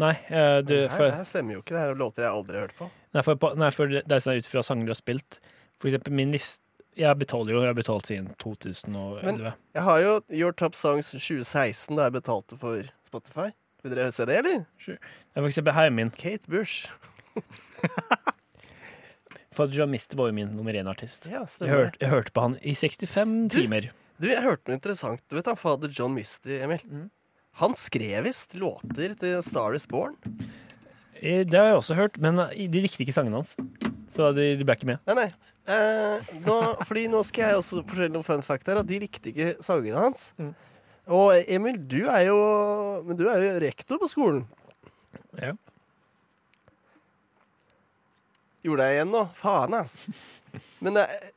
[SPEAKER 3] Nei, eh, du,
[SPEAKER 4] Nei,
[SPEAKER 3] for,
[SPEAKER 4] det her stemmer jo ikke. Det her er låter jeg aldri har hørt på.
[SPEAKER 3] Nei, for, på- nei, for det det er sånn ut fra sanger du har spilt. For eksempel min list Jeg betaler jo, jeg har betalt siden 2011.
[SPEAKER 4] Jeg har jo Your Top Songs 2016, da jeg betalte for Spotify. Vil dere se det, eller?
[SPEAKER 3] Det er for eksempel Heimin.
[SPEAKER 4] Kate Bush.
[SPEAKER 3] For at Jamiste var jo min nummer én-artist.
[SPEAKER 4] Ja,
[SPEAKER 3] Jeg,
[SPEAKER 4] stemmer det.
[SPEAKER 3] hørte- jeg hørte på han i 65 timer.
[SPEAKER 4] Du, jeg hørte noe interessant. Du vet han fader John Misty, Emil?
[SPEAKER 3] Mhm.
[SPEAKER 4] Han skrev visst låter til Star Is Born.
[SPEAKER 3] Eh, Det har jeg også hørt, men eh, de likte ikke sangene hans. Så de, de ble ikke med.
[SPEAKER 4] Nei, nei. Eh, nå, fordi nå skal jeg også fortelle noen fun fact her. At de likte ikke sangene hans.
[SPEAKER 3] Mm.
[SPEAKER 4] Og Emil, du er jo Men du er jo rektor på skolen.
[SPEAKER 3] Ja.
[SPEAKER 4] Gjorde jeg igjen nå? Faen, ass. Men det er-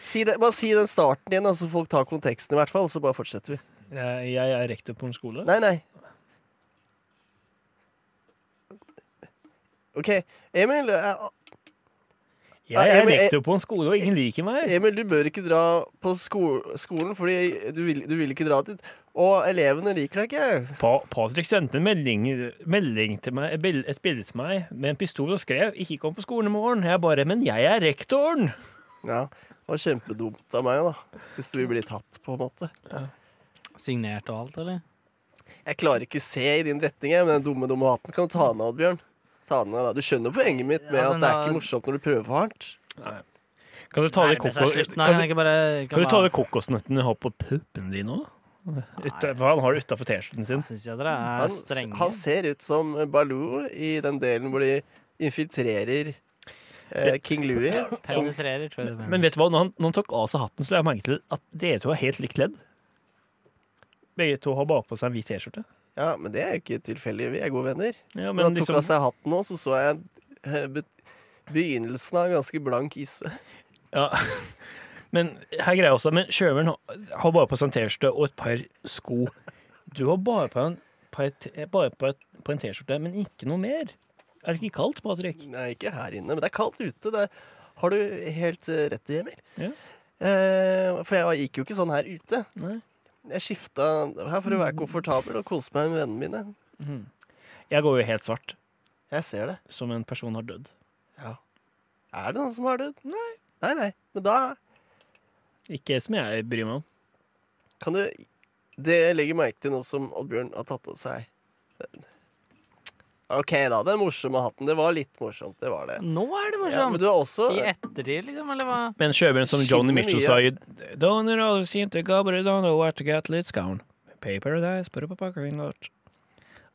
[SPEAKER 4] si det, Bare si den starten igjen, da, så folk tar konteksten, i hvert fall. Så bare fortsetter vi.
[SPEAKER 3] Jeg, Eh, jeg er rektor på en skole.
[SPEAKER 4] Nei, nei. OK. Emil, eh,
[SPEAKER 3] Jeg er
[SPEAKER 4] Nei, jeg-
[SPEAKER 3] rektor på en skole, og ingen liker meg.
[SPEAKER 4] Emil, du bør ikke dra på sko skolen, fordi du vil, du vil ikke dra dit. Og elevene liker deg ikke.
[SPEAKER 3] Pa, Patrick sendte en melding, melding til meg, et bil- et bilde til meg med en pistol og skrev 'ikke kom på skolen i morgen'. Jeg bare 'men jeg er rektoren'.
[SPEAKER 4] Ja, Det var kjempedumt av meg, da. Hvis du vil bli tatt, på en måte.
[SPEAKER 5] Signert og alt, eller?
[SPEAKER 4] Jeg klarer ikke se i din retning, jeg, men den dumme, dumme hatten kan du ta den av, Oddbjørn. Ta den av, da. Du skjønner poenget mitt med
[SPEAKER 5] Ja,
[SPEAKER 4] at
[SPEAKER 5] den
[SPEAKER 4] det er
[SPEAKER 5] da-
[SPEAKER 4] ikke morsomt når du prøver for hardt.
[SPEAKER 3] Kan du ta av deg
[SPEAKER 5] Nærme seg
[SPEAKER 3] kokos,
[SPEAKER 5] slutten
[SPEAKER 3] kan
[SPEAKER 5] her, kan
[SPEAKER 3] du,
[SPEAKER 5] jeg ikke bare
[SPEAKER 3] kan du ta av deg kokosnøttene du har på puppen din nå? Uta, hva han har det utafor T-skjorten sin?
[SPEAKER 5] Syns jeg dere er
[SPEAKER 4] Han,
[SPEAKER 5] strenge.
[SPEAKER 4] han ser ut som Baloo i den delen hvor de infiltrerer eh, King Louie.
[SPEAKER 5] Penetrerer, tror jeg det
[SPEAKER 3] Men vet du hva, når han, når han tok av seg hatten, så la jeg merke til at dere to er helt likt kledd. Begge to har bakpå seg en hvit T-skjorte.
[SPEAKER 4] Ja, men det er jo ikke tilfeldig. Vi er gode venner.
[SPEAKER 3] Ja,
[SPEAKER 4] Men
[SPEAKER 3] men
[SPEAKER 4] han tok
[SPEAKER 3] liksom,
[SPEAKER 4] av seg hatten nå, så så jeg eh, be- begynnelsen av en ganske blank isse.
[SPEAKER 3] ja. Men her greier jeg også Men sjøveren har- har bare på seg en T-skjorte og et par sko. Du har bare på en par t- bare på et, på en T-skjorte, men ikke noe mer. Er det ikke kaldt, Patrick?
[SPEAKER 4] Nei, ikke her inne, men det er kaldt ute. Det har du helt eh, rett i, Emil.
[SPEAKER 3] Ja.
[SPEAKER 4] Eh, for jeg gikk jo ikke sånn her ute.
[SPEAKER 3] Nei.
[SPEAKER 4] Jeg skifta her for å være komfortabel og kose meg med vennene mine.
[SPEAKER 3] Mhm. Jeg går jo helt svart,
[SPEAKER 4] Jeg ser det.
[SPEAKER 3] som en person har dødd.
[SPEAKER 4] Er det noen som har dødd? Nei. Nei, nei. Men da
[SPEAKER 3] Ikke som jeg bryr meg om.
[SPEAKER 4] kan du Det legger jeg merke til nå som Oddbjørn har tatt av seg OK, da. Den morsomme hatten. Det var litt morsomt, det var det.
[SPEAKER 5] Nå er det
[SPEAKER 4] Ja, men
[SPEAKER 5] morsomt!
[SPEAKER 4] du har også
[SPEAKER 5] I ettertid, liksom, eller hva?
[SPEAKER 3] Men sjøbjørn som Johnny
[SPEAKER 4] Skinner
[SPEAKER 3] Mitchell
[SPEAKER 4] mye.
[SPEAKER 3] sa i Don't know, seem to go, but I don't know where to get litt scown. Pay paradise, put up a packer in lot.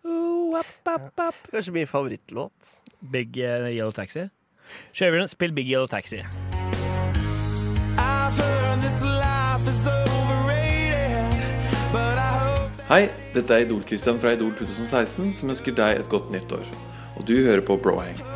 [SPEAKER 3] Ooh, up, up, up.
[SPEAKER 4] kanskje min favorittlåt.
[SPEAKER 3] Big eh, Yellow Taxi. Sjøbjørn, spill Big Yellow Taxi.
[SPEAKER 2] I've heard this life is overrated, but I hope.
[SPEAKER 1] Hei, dette er Idol-Christian fra Idol 2016 som ønsker deg et godt nytt år. Og du hører på Brohang.
[SPEAKER 2] Oh,